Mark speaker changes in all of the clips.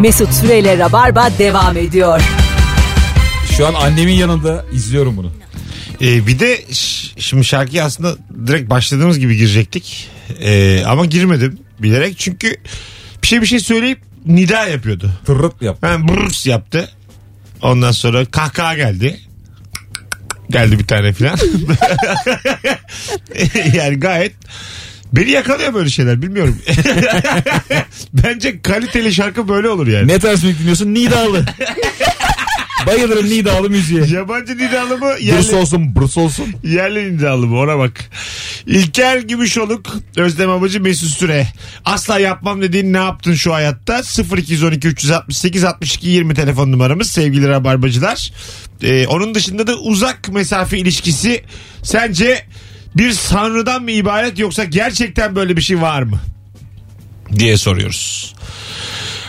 Speaker 1: Mesut Süreyle Rabarba devam ediyor.
Speaker 2: Şu an annemin yanında izliyorum bunu.
Speaker 3: Ee, bir de ş- şimdi şarkıya aslında direkt başladığımız gibi girecektik. Ee, ama girmedim bilerek çünkü bir şey bir şey söyleyip nida yapıyordu.
Speaker 2: Tırırt yap.
Speaker 3: Ben brrrs yaptı. Ondan sonra kahkaha geldi. Geldi bir tane filan. yani gayet beni yakalıyor böyle şeyler bilmiyorum. Bence kaliteli şarkı böyle olur yani.
Speaker 2: Ne tarz müzik dinliyorsun? Nidalı. Bayılırım Nidalı müziğe.
Speaker 3: Yabancı nidalı mı?
Speaker 2: Bruce
Speaker 3: Yerli,
Speaker 2: olsun, Bruce olsun.
Speaker 3: yerli nidalı mı? Ona bak. İlker Gümüşoluk, Özlem Abacı, Mesut Süre. Asla yapmam dediğin ne yaptın şu hayatta? 0212 368 62 20 telefon numaramız sevgili Rabarbacılar. Ee, onun dışında da uzak mesafe ilişkisi sence bir sanrıdan mı ibaret yoksa gerçekten böyle bir şey var mı? diye soruyoruz.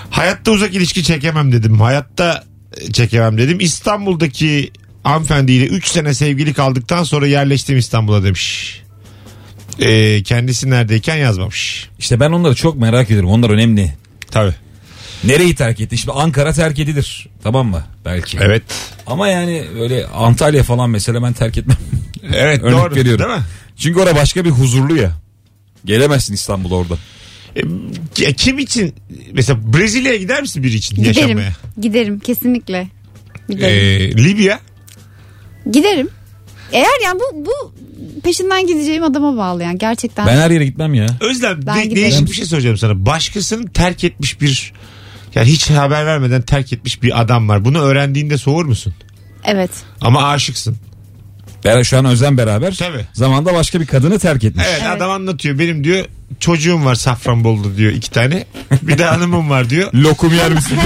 Speaker 3: Hayatta uzak ilişki çekemem dedim. Hayatta e, çekemem dedim. İstanbul'daki hanımefendiyle 3 sene sevgili kaldıktan sonra yerleştim İstanbul'a demiş. Ee, kendisi neredeyken yazmamış.
Speaker 2: İşte ben onları çok merak ediyorum. Onlar önemli.
Speaker 3: Tabii.
Speaker 2: Nereyi terk etti? Şimdi Ankara terk edilir. Tamam mı? Belki.
Speaker 3: Evet.
Speaker 2: Ama yani öyle Antalya falan mesela ben terk etmem.
Speaker 3: Evet
Speaker 2: Örnek
Speaker 3: doğru.
Speaker 2: veriyorum.
Speaker 3: Değil mi?
Speaker 2: Çünkü orada başka bir huzurlu ya. Gelemezsin İstanbul'a orada.
Speaker 3: E, ya kim için mesela Brezilya'ya gider misin biri için
Speaker 4: Giderim.
Speaker 3: yaşamaya? E,
Speaker 4: Giderim kesinlikle. Giderim.
Speaker 3: Ee, Libya.
Speaker 4: Giderim. Eğer yani bu bu peşinden gideceğim adama bağlı yani gerçekten.
Speaker 2: Ben her yere gitmem ya.
Speaker 3: Özlem
Speaker 4: Ben
Speaker 3: de-
Speaker 4: giderim.
Speaker 3: değişik bir şey soracağım sana. Başkasının terk etmiş bir yani hiç haber vermeden terk etmiş bir adam var. Bunu öğrendiğinde soğur musun?
Speaker 4: Evet.
Speaker 3: Ama aşıksın.
Speaker 2: Ben şu an Özlem beraber.
Speaker 3: Tabii.
Speaker 2: Zamanda başka bir kadını terk etmiş.
Speaker 3: Evet, adam anlatıyor. Benim diyor çocuğum var Safranbolu'da diyor iki tane. Bir de hanımım var diyor.
Speaker 2: Lokum yer misin?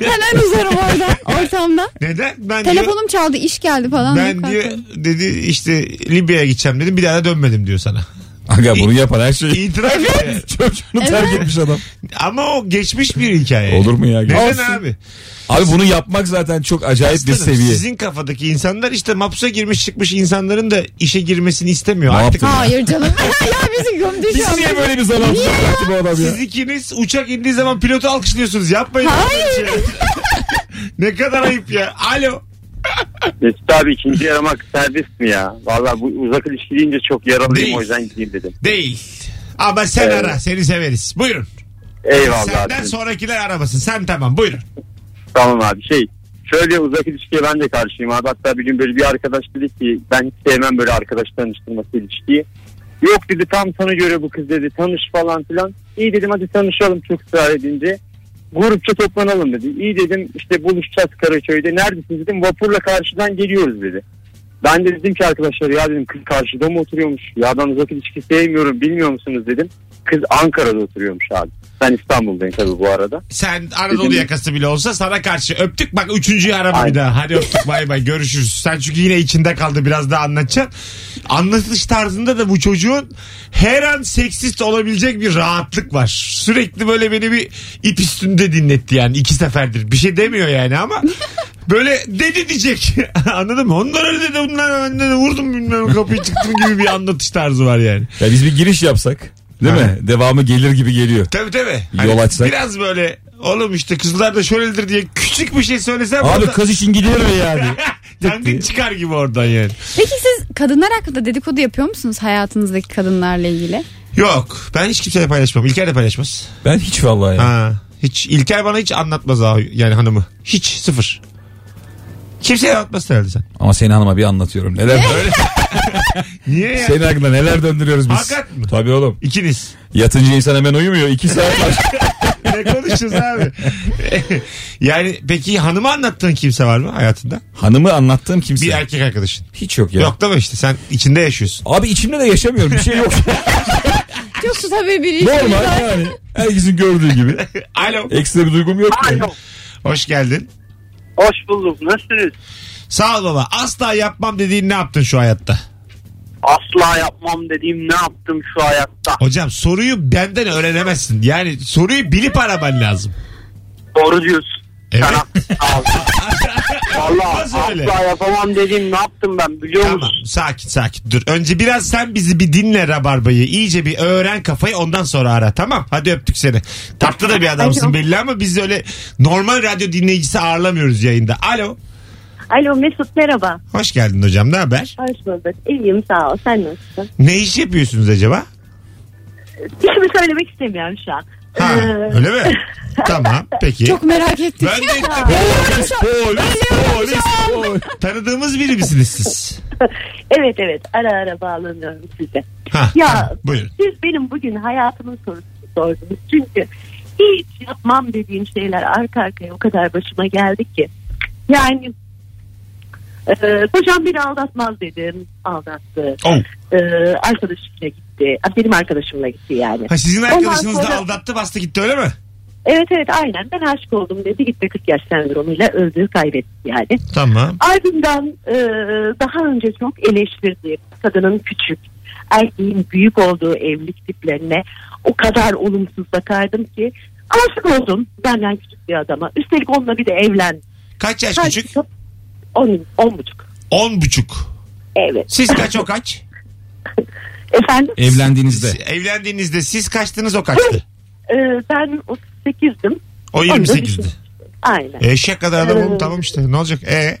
Speaker 4: Hemen uzarım orada ortamda.
Speaker 3: Neden? Ben diyor,
Speaker 4: Telefonum çaldı iş geldi falan.
Speaker 3: ben
Speaker 4: Yok,
Speaker 3: diyor
Speaker 4: kalkarım.
Speaker 3: dedi işte Libya'ya gideceğim dedim. Bir daha da dönmedim diyor sana.
Speaker 2: Aga bunu yapar her şeyi.
Speaker 3: İtiraf ediyor.
Speaker 2: Çocuğunu terk etmiş adam.
Speaker 3: Ama o geçmiş bir hikaye.
Speaker 2: Olur mu ya?
Speaker 3: Neden
Speaker 2: Olsun.
Speaker 3: abi?
Speaker 2: Abi bunu yapmak zaten çok acayip bir
Speaker 3: Aslanım,
Speaker 2: seviye.
Speaker 3: Sizin kafadaki insanlar işte mapsa girmiş çıkmış insanların da işe girmesini istemiyor.
Speaker 2: Ne
Speaker 3: Artık
Speaker 2: yaptın?
Speaker 4: Hayır canım. ya bizi gömdü şu
Speaker 2: Biz
Speaker 4: an.
Speaker 2: niye böyle bir zaman tuttuk bu adam ya?
Speaker 3: siz ikiniz uçak indiği zaman pilotu alkışlıyorsunuz. Yapmayın.
Speaker 4: Hayır.
Speaker 3: Şey. ne kadar ayıp ya. Alo.
Speaker 5: Mesut abi ikinci yaramak serbest mi ya? Valla bu uzak ilişki deyince çok yaralıyım
Speaker 3: Değil.
Speaker 5: o yüzden gideyim dedim.
Speaker 3: Değil. Ama sen
Speaker 5: Evet.
Speaker 3: ara. Seni severiz. Buyurun.
Speaker 5: Eyvallah
Speaker 3: Senden
Speaker 5: abi.
Speaker 3: sonrakiler aramasın. Sen tamam buyurun.
Speaker 5: Tamam abi şey şöyle uzak ilişkiye ben de karşıyım abi. Hatta bir gün böyle bir arkadaş dedi ki ben hiç sevmem böyle arkadaş tanıştırması ilişkiyi. Yok dedi tam sana göre bu kız dedi tanış falan filan. İyi dedim hadi tanışalım çok ısrar edince. Grupça toplanalım dedi. İyi dedim işte buluşacağız Karaköy'de. Neredesiniz dedim vapurla karşıdan geliyoruz dedi. Ben de dedim ki arkadaşlar ya dedim kız karşıda mı oturuyormuş? Ya ben uzak ilişki sevmiyorum bilmiyor musunuz dedim. Kız Ankara'da oturuyormuş abi. Ben İstanbul'dayım tabii bu arada.
Speaker 3: Sen Anadolu
Speaker 5: Dedim.
Speaker 3: yakası bile olsa sana karşı öptük. Bak üçüncüyü arama bir
Speaker 5: Aynen.
Speaker 3: daha. Hadi öptük bay bay görüşürüz. Sen çünkü yine içinde kaldı biraz daha anlatacaksın. Anlatış tarzında da bu çocuğun her an seksist olabilecek bir rahatlık var. Sürekli böyle beni bir ip üstünde dinletti yani iki seferdir. Bir şey demiyor yani ama böyle dedi diyecek. Anladın mı? Onlar öyle dedi bunlar öyle dedi. Vurdum bilmem kapıyı çıktım gibi bir anlatış tarzı var yani.
Speaker 2: Ya biz bir giriş yapsak değil mi? Devamı gelir gibi geliyor.
Speaker 3: Tabii tabii. Hani
Speaker 2: Yol açsak.
Speaker 3: Biraz böyle oğlum işte kızlar da şöyledir diye küçük bir şey söylesem
Speaker 2: Abi
Speaker 3: orada-
Speaker 2: kız için gidilir mi yani?
Speaker 3: Dandik çıkar gibi oradan yani.
Speaker 4: Peki siz kadınlar hakkında dedikodu yapıyor musunuz hayatınızdaki kadınlarla ilgili?
Speaker 3: Yok ben hiç kimseyle paylaşmam. İlker de paylaşmaz.
Speaker 2: Ben hiç vallahi. ya.
Speaker 3: Ha, hiç İlker bana hiç anlatmaz abi yani hanımı. Hiç sıfır. Kimseye anlatmaz herhalde sen.
Speaker 2: Ama senin hanıma bir anlatıyorum. Neler böyle
Speaker 3: Niye ya?
Speaker 2: senin hakkında neler döndürüyoruz biz.
Speaker 3: Hakikat mi?
Speaker 2: Tabii oğlum.
Speaker 3: İkiniz.
Speaker 2: Yatınca insan hemen uyumuyor. İki saat var.
Speaker 3: Ne konuşuyoruz abi? yani peki hanımı anlattığın kimse var mı hayatında?
Speaker 2: Hanımı anlattığım
Speaker 3: Bir
Speaker 2: kimse.
Speaker 3: erkek arkadaşın.
Speaker 2: Hiç yok ya.
Speaker 3: Yok değil mi işte sen içinde yaşıyorsun.
Speaker 2: Abi içimde de yaşamıyorum. Bir şey yok.
Speaker 4: Çok su tabii bir
Speaker 2: Normal yani. Herkesin gördüğü gibi.
Speaker 3: Alo.
Speaker 2: Ekstra bir duygum yok. yani.
Speaker 3: Hoş geldin.
Speaker 5: Hoş bulduk. Nasılsınız?
Speaker 3: Sağ ol baba. Asla yapmam dediğin ne yaptın şu hayatta?
Speaker 5: Asla yapmam dediğim ne yaptım şu hayatta?
Speaker 3: Hocam soruyu benden öğrenemezsin. Yani soruyu bilip araman lazım.
Speaker 5: Doğru diyorsun.
Speaker 2: Evet.
Speaker 5: Sana aldım. Valla
Speaker 3: Nasıl öyle?
Speaker 5: asla yapamam dedim ne yaptım ben biliyor musun?
Speaker 3: Tamam sakin sakin dur. Önce biraz sen bizi bir dinle rabarbayı. İyice bir öğren kafayı ondan sonra ara tamam. Hadi öptük seni. Tatlı da bir adamsın
Speaker 6: Alo.
Speaker 3: belli ama biz öyle normal radyo dinleyicisi ağırlamıyoruz yayında. Alo.
Speaker 6: Alo Mesut merhaba.
Speaker 3: Hoş geldin hocam ne haber?
Speaker 6: Hoş bulduk. İyiyim sağ ol. Sen nasılsın?
Speaker 3: Ne iş yapıyorsunuz acaba?
Speaker 6: Hiçbir şey söylemek istemiyorum şu an.
Speaker 3: Ha,
Speaker 6: Ee,
Speaker 3: öyle mi? tamam peki.
Speaker 4: Çok merak ettim.
Speaker 3: Ben de polis, polis, polis, polis. Tanıdığımız biri misiniz siz?
Speaker 6: Evet evet ara ara bağlanıyorum size.
Speaker 3: Ha,
Speaker 6: Ya
Speaker 3: tamam, buyurun.
Speaker 6: siz benim bugün hayatımın sorusunu sordunuz. Çünkü hiç yapmam dediğim şeyler arka arkaya o kadar başıma geldi ki. Yani e, kocam beni aldatmaz dedim. Aldattı.
Speaker 3: Oh.
Speaker 6: E, arkadaşımla gitti. Ah, Benim arkadaşımla gitti yani.
Speaker 3: Ha, sizin
Speaker 6: Ondan
Speaker 3: arkadaşınız da
Speaker 6: sonra-
Speaker 3: aldattı bastı gitti öyle mi?
Speaker 6: Evet evet aynen ben aşık oldum dedi gitti 40 yaş sendromuyla öldü kaybetti yani.
Speaker 3: Tamam.
Speaker 6: Ardından e, daha önce çok eleştirdiğim kadının küçük erkeğin büyük olduğu evlilik tiplerine o kadar olumsuz bakardım ki aşık oldum benden küçük bir adama. Üstelik onunla bir de evlen.
Speaker 3: Kaç yaş
Speaker 6: Kaç?
Speaker 3: küçük?
Speaker 6: On, on buçuk.
Speaker 3: On buçuk.
Speaker 6: Evet.
Speaker 3: Siz kaç o kaç?
Speaker 6: Efendim
Speaker 2: Evlendiğinizde.
Speaker 3: Siz- evlendiğinizde siz kaçtınız o kaçtı?
Speaker 6: e, ben 38'dim.
Speaker 3: O E,
Speaker 6: Onu da
Speaker 3: 28'di.
Speaker 6: düşün. Aynen.
Speaker 3: Eşek kadar adam oğlum
Speaker 6: Evet.
Speaker 3: tamam işte ne olacak? E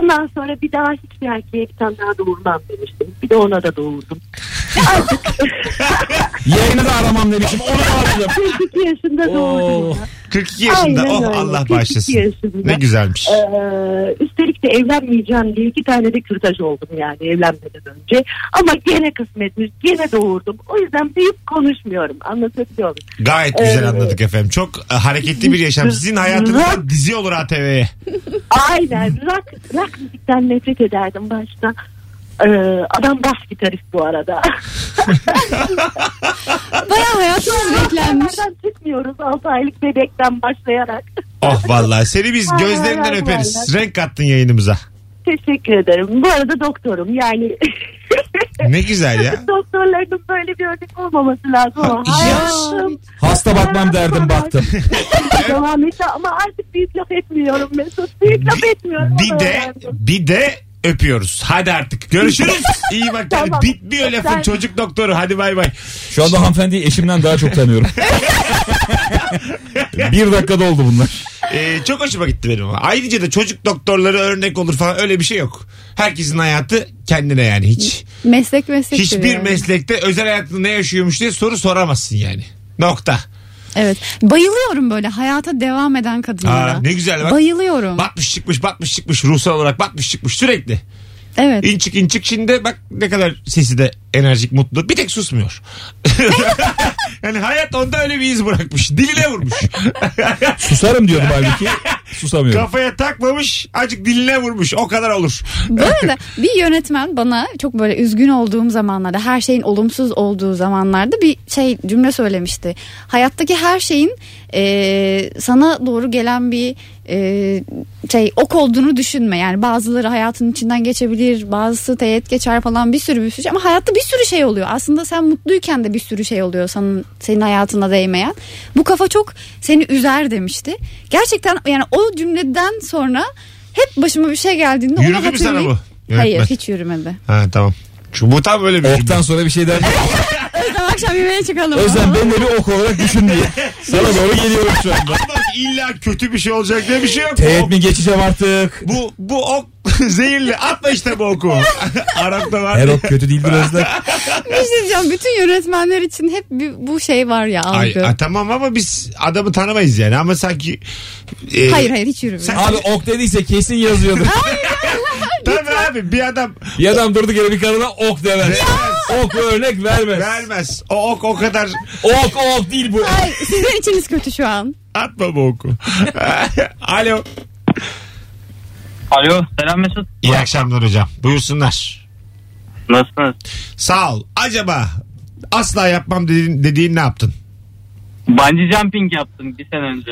Speaker 6: Ondan sonra bir daha hiçbir erkeğe bir tane daha doğurmam demiştim. Bir de ona da doğurdum.
Speaker 2: Yayını da aramam demişim. Onu da aldım.
Speaker 6: 42 yaşında doğurdum.
Speaker 2: Oo.
Speaker 3: 42 yaşında
Speaker 6: Aynen
Speaker 3: oh
Speaker 6: öyle.
Speaker 3: Allah
Speaker 6: 42
Speaker 3: bağışlasın.
Speaker 6: yaşında.
Speaker 3: Ne güzelmiş.
Speaker 6: Ee, üstelik de evlenmeyeceğim diye iki tane de kürtaj oldum yani evlenmeden önce. Ama gene kısmetmiş, gene doğurdum. O yüzden büyük konuşmuyorum. Anlatabiliyor muyum?
Speaker 3: Gayet
Speaker 6: Ee,
Speaker 3: güzel anladık efendim. Çok e, hareketli bir yaşam. Sizin hayatınızda dizi olur ATV'ye.
Speaker 6: Aynen. Rock, rock müzikten nefret ederdim başta. Ee, adam bas gitarist bu arada.
Speaker 4: Bayağı hayatımız beklenmiş.
Speaker 6: Nereden çıkmıyoruz 6 aylık bebekten başlayarak.
Speaker 3: Oh vallahi seni biz
Speaker 6: Ay,
Speaker 3: gözlerinden
Speaker 6: ay, ay,
Speaker 3: öperiz. Renk kattın yayınımıza.
Speaker 6: Teşekkür ederim. Bu arada doktorum yani.
Speaker 3: Ne güzel ya.
Speaker 6: Doktorların böyle bir örnek olmaması lazım ama
Speaker 3: Ha, ya.
Speaker 6: hayatım
Speaker 2: Hasta bakmam derdim baktım.
Speaker 6: devam etti ama artık büyük laf etmiyorum Mesut. Büyük laf etmiyorum.
Speaker 3: Bir
Speaker 6: onu
Speaker 3: de
Speaker 6: öğrendim.
Speaker 3: bir de öpüyoruz. Hadi artık görüşürüz. İyi bak yani
Speaker 6: Tamam.
Speaker 3: bitmiyor lafın
Speaker 6: Sen-
Speaker 3: çocuk doktoru. Hadi bay bay.
Speaker 2: Şu anda hanımefendiyi eşimden daha çok tanıyorum. bir dakikada oldu bunlar.
Speaker 3: Ee, çok hoşuma gitti benim. ama. Ayrıca da çocuk doktorları örnek olur falan öyle bir şey yok. Herkesin hayatı kendine yani hiç.
Speaker 4: Meslek meslek.
Speaker 3: Hiçbir meslekte özel hayatında ne yaşıyormuş diye soru soramazsın yani. Nokta.
Speaker 4: Evet. Bayılıyorum böyle hayata devam eden kadınlara.
Speaker 3: Aa, ne güzel bak.
Speaker 4: Bayılıyorum.
Speaker 3: Batmış çıkmış batmış çıkmış ruhsal olarak batmış çıkmış sürekli.
Speaker 4: evet.
Speaker 3: İnçik inçik şimdi bak ne kadar sesi de enerjik mutlu bir tek susmuyor. yani hayat onda öyle bir iz bırakmış diline vurmuş.
Speaker 2: Susarım diyordum halbuki. Susamıyorum.
Speaker 3: Kafaya takmamış acık diline vurmuş o kadar olur.
Speaker 4: Bu arada bir yönetmen bana çok böyle üzgün olduğum zamanlarda her şeyin olumsuz olduğu zamanlarda bir şey cümle söylemişti. Hayattaki her şeyin e, sana doğru gelen bir e, şey ok olduğunu düşünme. Yani bazıları hayatın içinden geçebilir bazısı teğet geçer falan bir sürü bir sürü şey. ama hayatta bir sürü şey oluyor. Aslında sen mutluyken de bir sürü şey oluyor senin, senin hayatına değmeyen. Bu kafa çok seni üzer demişti. Gerçekten yani o cümleden sonra hep başıma bir şey geldiğinde onu
Speaker 3: Yürüdü mü sana
Speaker 4: hatırlayıp-
Speaker 3: bu yönetmen?
Speaker 4: Hayır hiç yürümedi.
Speaker 3: Ha tamam. Şu bu tam böyle bir
Speaker 2: Oktan sonra bir şey der.
Speaker 4: Özlem akşam yemeğe çıkalım.
Speaker 2: Özlem ben de bir ok olarak düşün diye. Sana doğru geliyorum şu anda.
Speaker 3: Bak illa kötü bir şey olacak diye bir şey yok.
Speaker 2: Teğet
Speaker 3: Bu,
Speaker 2: mi geçeceğim artık?
Speaker 3: bu, bu ok zehirli. Atma işte bu oku. Arap'ta var.
Speaker 2: Her ok kötü değildir Özlem.
Speaker 4: Bir şey diyeceğim. Bütün yönetmenler için hep bir- bu şey var ya
Speaker 3: Ay,
Speaker 4: algı.
Speaker 3: a, tamam ama biz adamı tanımayız yani ama sanki e,
Speaker 4: hayır hayır hiç yürümedi.
Speaker 2: Abi ok dediyse kesin yazıyordur.
Speaker 3: tabii abi bir adam
Speaker 2: Bir adam durduk yere bir kadına ok demez. Ok örnek vermez.
Speaker 3: vermez o ok o kadar
Speaker 2: Ok ok değil bu.
Speaker 4: Ay, sizin içiniz kötü şu an.
Speaker 3: atma bu oku alo
Speaker 7: Alo selam Mesut.
Speaker 3: iyi akşamlar hocam buyursunlar
Speaker 7: Nasılsınız?
Speaker 3: sağ ol acaba asla yapmam dediğin, dediğin ne yaptın
Speaker 7: Bungee jumping yaptım bir sene önce.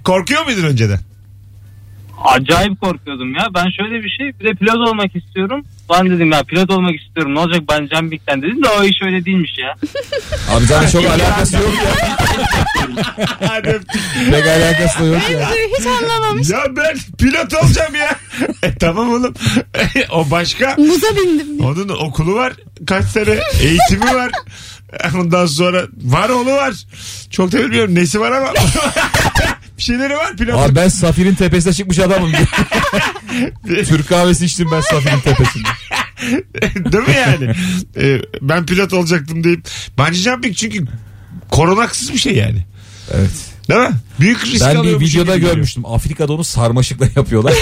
Speaker 3: korkuyor muydun önceden
Speaker 5: Acayip korkuyordum ya. Ben şöyle bir şey bir de pilot olmak istiyorum. Ben dedim ya pilot olmak istiyorum ne olacak ben Cembik'ten dedim de o iş öyle değilmiş ya.
Speaker 2: Abi zaten çok alakası yok ya.
Speaker 3: Hadi öptük.
Speaker 2: Pek alakası da yok ya.
Speaker 4: Hiç anlamamış.
Speaker 3: ya ben pilot olacağım ya. E, tamam oğlum. o başka.
Speaker 4: Muza bindim.
Speaker 3: Onun okulu var. Kaç sene eğitimi var. Ondan sonra var oğlu var. Çok da bilmiyorum nesi var ama. bir şeyleri var pilot.
Speaker 2: Abi ben Safir'in tepesine çıkmış adamım. Türk kahvesi içtim ben Safir'in tepesinde.
Speaker 3: Değil mi yani? E, ben pilot olacaktım deyip. Bungee jumping çünkü koronaksız bir şey yani.
Speaker 2: Evet.
Speaker 3: Değil mi? Büyük risk
Speaker 2: Ben bir
Speaker 3: alıyormuşum
Speaker 2: videoda
Speaker 3: gibi geliyor.
Speaker 2: görmüştüm. Afrika'da onu sarmaşıkla yapıyorlar.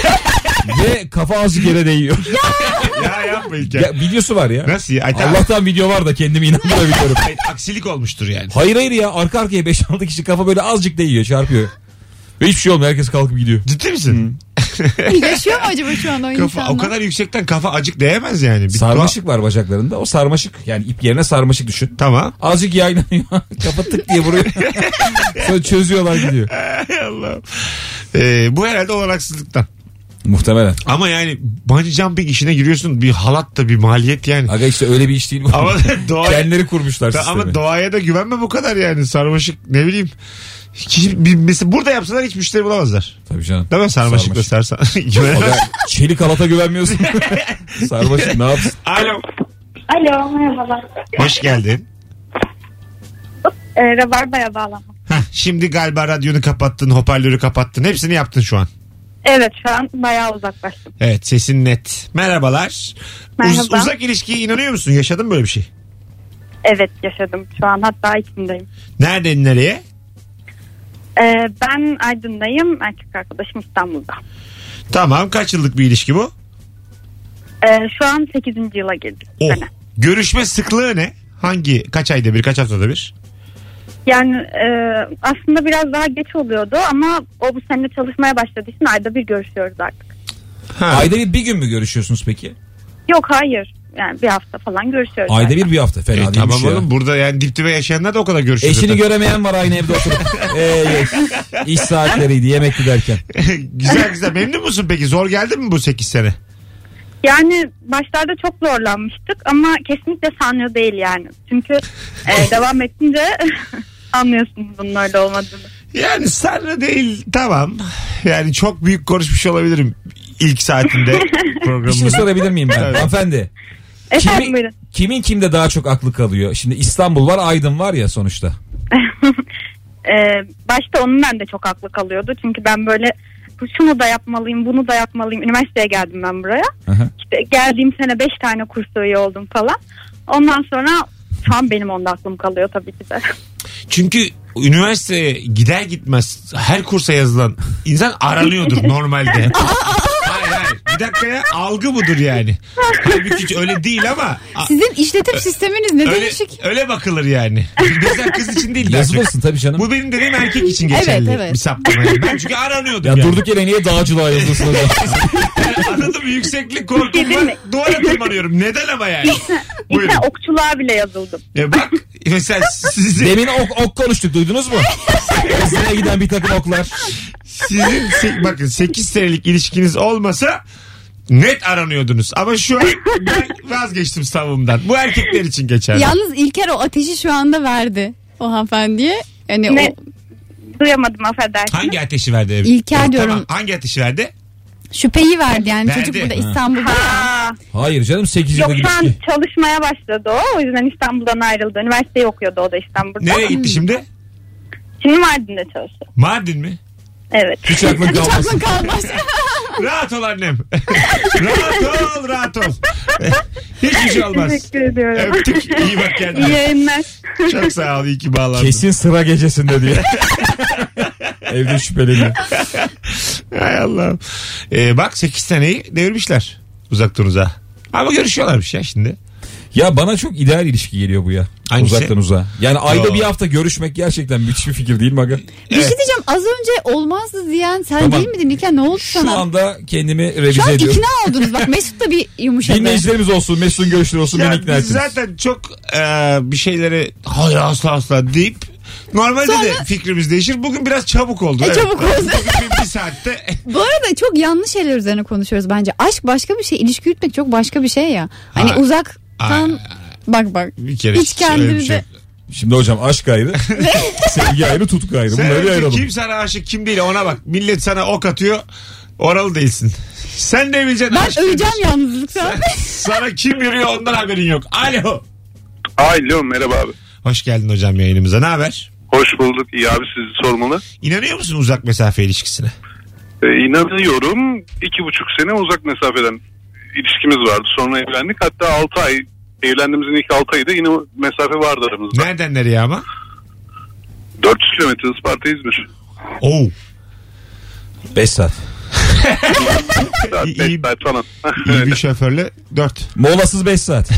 Speaker 2: Ve kafa azıcık yere değiyor.
Speaker 3: Ya yapma İlker.
Speaker 2: Ya, videosu var ya.
Speaker 3: Nasıl ya? Ay, tamam.
Speaker 2: Allah'tan video var da kendimi inandıramıyorum.
Speaker 3: Ay, aksilik olmuştur yani.
Speaker 2: Hayır hayır ya arka arkaya 5-6 kişi kafa böyle azıcık değiyor çarpıyor. Ve hiçbir şey olmuyor herkes kalkıp gidiyor.
Speaker 3: Ciddi misin?
Speaker 4: Yaşıyor mu acaba şu an o
Speaker 3: Kafa,
Speaker 4: insanlar?
Speaker 3: o kadar yüksekten kafa acık değemez yani. Bir
Speaker 2: Sarmaşık var bacaklarında o sarmaşık yani ip yerine sarmaşık düşün.
Speaker 3: tuhaf- Tamam.
Speaker 2: Azıcık yaylanıyor kafa tık diye vuruyor. Sonra çözüyorlar gidiyor.
Speaker 3: Ay Allah'ım. Ee, bu herhalde olanaksızlıktan.
Speaker 2: Muhtemelen.
Speaker 3: Ama yani bungee jumping işine giriyorsun bir halat da bir maliyet yani.
Speaker 2: Aga işte öyle bir iş değil bu.
Speaker 3: Ama doğaya,
Speaker 2: Kendileri kurmuşlar
Speaker 3: Ta-
Speaker 2: sistemi.
Speaker 3: ama doğaya da güvenme bu kadar yani sarmaşık ne bileyim. Ki- bir- mesela burada yapsalar hiç müşteri bulamazlar.
Speaker 2: Tabii canım.
Speaker 3: Değil mi? Sarmaşıkla
Speaker 2: Sarmaşık.
Speaker 3: sarsan.
Speaker 2: Aga, çelik halata güvenmiyorsun. sarmaşık ne yapsın?
Speaker 3: Alo.
Speaker 6: Alo merhabalar.
Speaker 3: Hoş geldin.
Speaker 6: Ee, Rabarba'ya bağlanmak.
Speaker 3: Hah, şimdi galiba radyonu kapattın, hoparlörü kapattın. Hepsini yaptın şu an.
Speaker 6: Evet şu an bayağı uzaklaştım.
Speaker 3: Evet sesin net. Merhabalar.
Speaker 6: Merhaba.
Speaker 3: Uz- uzak ilişkiye inanıyor musun? Yaşadın mı böyle bir şey?
Speaker 6: Evet yaşadım şu an hatta içindeyim.
Speaker 3: Nereden nereye?
Speaker 6: Ee, ben Aydın'dayım erkek arkadaşım İstanbul'da.
Speaker 3: Tamam kaç yıllık bir ilişki bu?
Speaker 6: Ee, şu an 8. yıla Hani girdik. bu
Speaker 3: Oh.
Speaker 6: sene.
Speaker 3: Görüşme sıklığı ne? Hangi? Kaç ayda bir? Kaç haftada bir?
Speaker 6: Yani e, aslında biraz daha geç oluyordu ama o bu sene çalışmaya başladığı için ayda bir görüşüyoruz artık.
Speaker 3: Ha.
Speaker 2: Ayda bir, bir gün mü görüşüyorsunuz peki?
Speaker 6: Yok hayır yani bir hafta falan görüşüyoruz.
Speaker 2: Ayda
Speaker 6: zaten.
Speaker 2: bir bir hafta fena
Speaker 3: E,
Speaker 2: değilmiş
Speaker 3: tamam
Speaker 2: ya.
Speaker 3: oğlum burada yani dip dibe yaşayanlar da o kadar görüşüyor.
Speaker 2: Eşini
Speaker 3: zaten.
Speaker 2: göremeyen var aynı evde oturup. Ee, iş saatleriydi yemekti derken.
Speaker 3: güzel güzel. Memnun musun peki? Zor geldi mi bu 8 sene?
Speaker 6: Yani başlarda çok zorlanmıştık ama kesinlikle sanıyor değil yani. Çünkü e, devam ettince anlıyorsunuz bunun öyle olmadığını.
Speaker 3: Yani sarı değil tamam. Yani çok büyük konuşmuş olabilirim ilk saatinde
Speaker 2: Bir şey
Speaker 3: programımızda.
Speaker 2: sorabilir miyim ben?
Speaker 3: Evet.
Speaker 2: Hanımefendi.
Speaker 6: Efendim
Speaker 2: Kimi-
Speaker 6: buyurun.
Speaker 2: kimin kimde daha çok aklı kalıyor? Şimdi İstanbul var Aydın var ya sonuçta.
Speaker 6: E, başta onun ben de çok aklı kalıyordu. Çünkü ben böyle şunu da yapmalıyım, bunu da yapmalıyım. Üniversiteye geldim ben buraya.
Speaker 2: Aha.
Speaker 6: İşte geldiğim sene 5 tane kursa üye oldum falan. Ondan sonra şu an benim onda aklım kalıyor tabii ki de.
Speaker 3: Çünkü üniversiteye gider gitmez her kursa yazılan insan aranıyordur normalde. hayır hayır. Bir dakika ya algı budur yani. Halbuki hiç öyle değil ama a-
Speaker 4: Sizin işletim sisteminiz ne
Speaker 3: öyle,
Speaker 4: değişik.
Speaker 3: öyle bakılır yani. Güzel kız için değil. daha çok.
Speaker 2: Yazılırsın tabii canım.
Speaker 3: Bu benim dediğim erkek için
Speaker 4: Evet,
Speaker 3: geçerli
Speaker 4: evet.
Speaker 3: bir saptama. yani. Ben çünkü aranıyordum.
Speaker 2: ya
Speaker 3: yani.
Speaker 2: durduk yere niye dağcılığa yazılsın hocam?
Speaker 3: Anladın mı? Yükseklik korkum var. Duvara tırmanıyorum. Neden ama yani? Buyurun.
Speaker 6: İşte okçuluğa bile yazıldım.
Speaker 3: E bak mesela sizin,
Speaker 2: Demin ok, ok konuştuk duydunuz mu? Kızına giden bir takım oklar.
Speaker 3: sizin se- bakın 8 senelik ilişkiniz olmasa net aranıyordunuz. Ama şu an ben vazgeçtim savımdan. Bu erkekler için geçerli.
Speaker 4: Yalnız İlker o ateşi şu anda verdi o hanımefendiye. Yani
Speaker 6: Ne?
Speaker 4: o
Speaker 6: Duyamadım affedersiniz.
Speaker 3: E, Hangi ateşi verdi? ev?
Speaker 4: İlker
Speaker 3: Tamam,
Speaker 4: diyorum.
Speaker 3: Hangi ateşi verdi?
Speaker 4: şüpheyi verdi yani
Speaker 3: Verdi.
Speaker 4: çocuk burada
Speaker 3: Ha.
Speaker 4: İstanbul'da.
Speaker 6: Ha.
Speaker 2: Hayır canım 8
Speaker 6: Yok
Speaker 2: yıllık
Speaker 6: şu an
Speaker 2: ilişki.
Speaker 6: çalışmaya başladı o. O yüzden İstanbul'dan ayrıldı. Üniversiteyi okuyordu o da İstanbul'da.
Speaker 3: Nereye gitti şimdi?
Speaker 6: Şimdi Mardin'de çalışıyor.
Speaker 3: Mardin mi?
Speaker 6: Evet.
Speaker 2: Hiç aklın kalmasın.
Speaker 4: Aklın kalmaz.
Speaker 3: Rahat ol annem. rahat ol, rahat ol. Hiçbir şey olmaz.
Speaker 6: Teşekkür ediyorum.
Speaker 3: Öptük. İyi bak
Speaker 6: İyi
Speaker 3: kendine.
Speaker 6: yayınlar.
Speaker 3: Çok sağ ol. İyi ki bağlandın.
Speaker 2: Kesin sıra gecesinde diye. Evde şüpheleniyor.
Speaker 3: Hay Allah'ım. Ee, bak 8 seneyi devirmişler uzaktan uzağa. Ama görüşüyorlarmış ya şimdi.
Speaker 2: Ya bana çok ideal ilişki geliyor bu ya.
Speaker 3: Hangisi?
Speaker 2: Uzaktan uzağa. Yani ayda
Speaker 3: Yo.
Speaker 2: bir hafta görüşmek gerçekten müthiş bir fikir değil mi aga?
Speaker 4: Bir şey diyeceğim az önce olmazdı diyen sen
Speaker 2: Tamam.
Speaker 4: değil miydin İlker ne oldu
Speaker 2: Şu
Speaker 4: sana?
Speaker 2: anda kendimi
Speaker 4: Şu an
Speaker 2: revize ediyorum.
Speaker 4: ikna oldunuz bak Mesut da bir yumuşadı.
Speaker 2: Dinleyicilerimiz olsun, Mesut'un görüşleri olsun beni
Speaker 3: Ya
Speaker 2: ikna
Speaker 3: biz
Speaker 2: etsiniz.
Speaker 3: zaten çok e, bir şeyleri hayır asla asla deyip Normalde de fikrimiz değişir. Bugün biraz çabuk oldu.
Speaker 4: E, çabuk oldu.
Speaker 3: Bugün bir, bir saatte
Speaker 4: Bu arada çok yanlış şeyler üzerine konuşuyoruz bence. Aşk başka bir şey, ilişki yürütmek çok başka bir şey ya. Hani
Speaker 3: Ha.
Speaker 4: uzaktan
Speaker 3: Ay,
Speaker 4: bak bak.
Speaker 3: bir kere
Speaker 4: Hiç
Speaker 3: öyle bir şey
Speaker 4: kendinize
Speaker 3: yok.
Speaker 2: Şimdi hocam aşk ayrı. sevgi ayrı tutku ayrı.
Speaker 3: Sen
Speaker 2: Bunları bir
Speaker 3: önce
Speaker 2: ayıralım.
Speaker 3: kim sana aşık kim değil ona bak. Millet sana ok atıyor. Oralı değilsin. Sen ne bileceksin? aşk şey
Speaker 4: ben
Speaker 3: nedir?
Speaker 4: öleceğim yalnızlıktan.
Speaker 3: Sana kim yürüyor ondan haberin yok. Alo.
Speaker 5: Alo merhaba abi.
Speaker 3: Hoş geldin hocam yayınımıza. Ne haber?
Speaker 5: Hoş bulduk. İyi abi sizi sormalı.
Speaker 3: İnanıyor musun uzak mesafe ilişkisine?
Speaker 5: Ee, inanıyorum iki buçuk sene uzak mesafeden ilişkimiz vardı. Sonra evlendik. Hatta altı ay evlendiğimizin ilk altı ayı da yine mesafe vardı aramızda.
Speaker 3: Nereden nereye ama?
Speaker 5: 400 kilometre Isparta İzmir.
Speaker 3: Oo.
Speaker 2: 5 saat.
Speaker 3: İyi- iyi-
Speaker 5: Saat beş saat falan.
Speaker 3: İyi bir şoförle 4.
Speaker 2: Molasız 5 saat.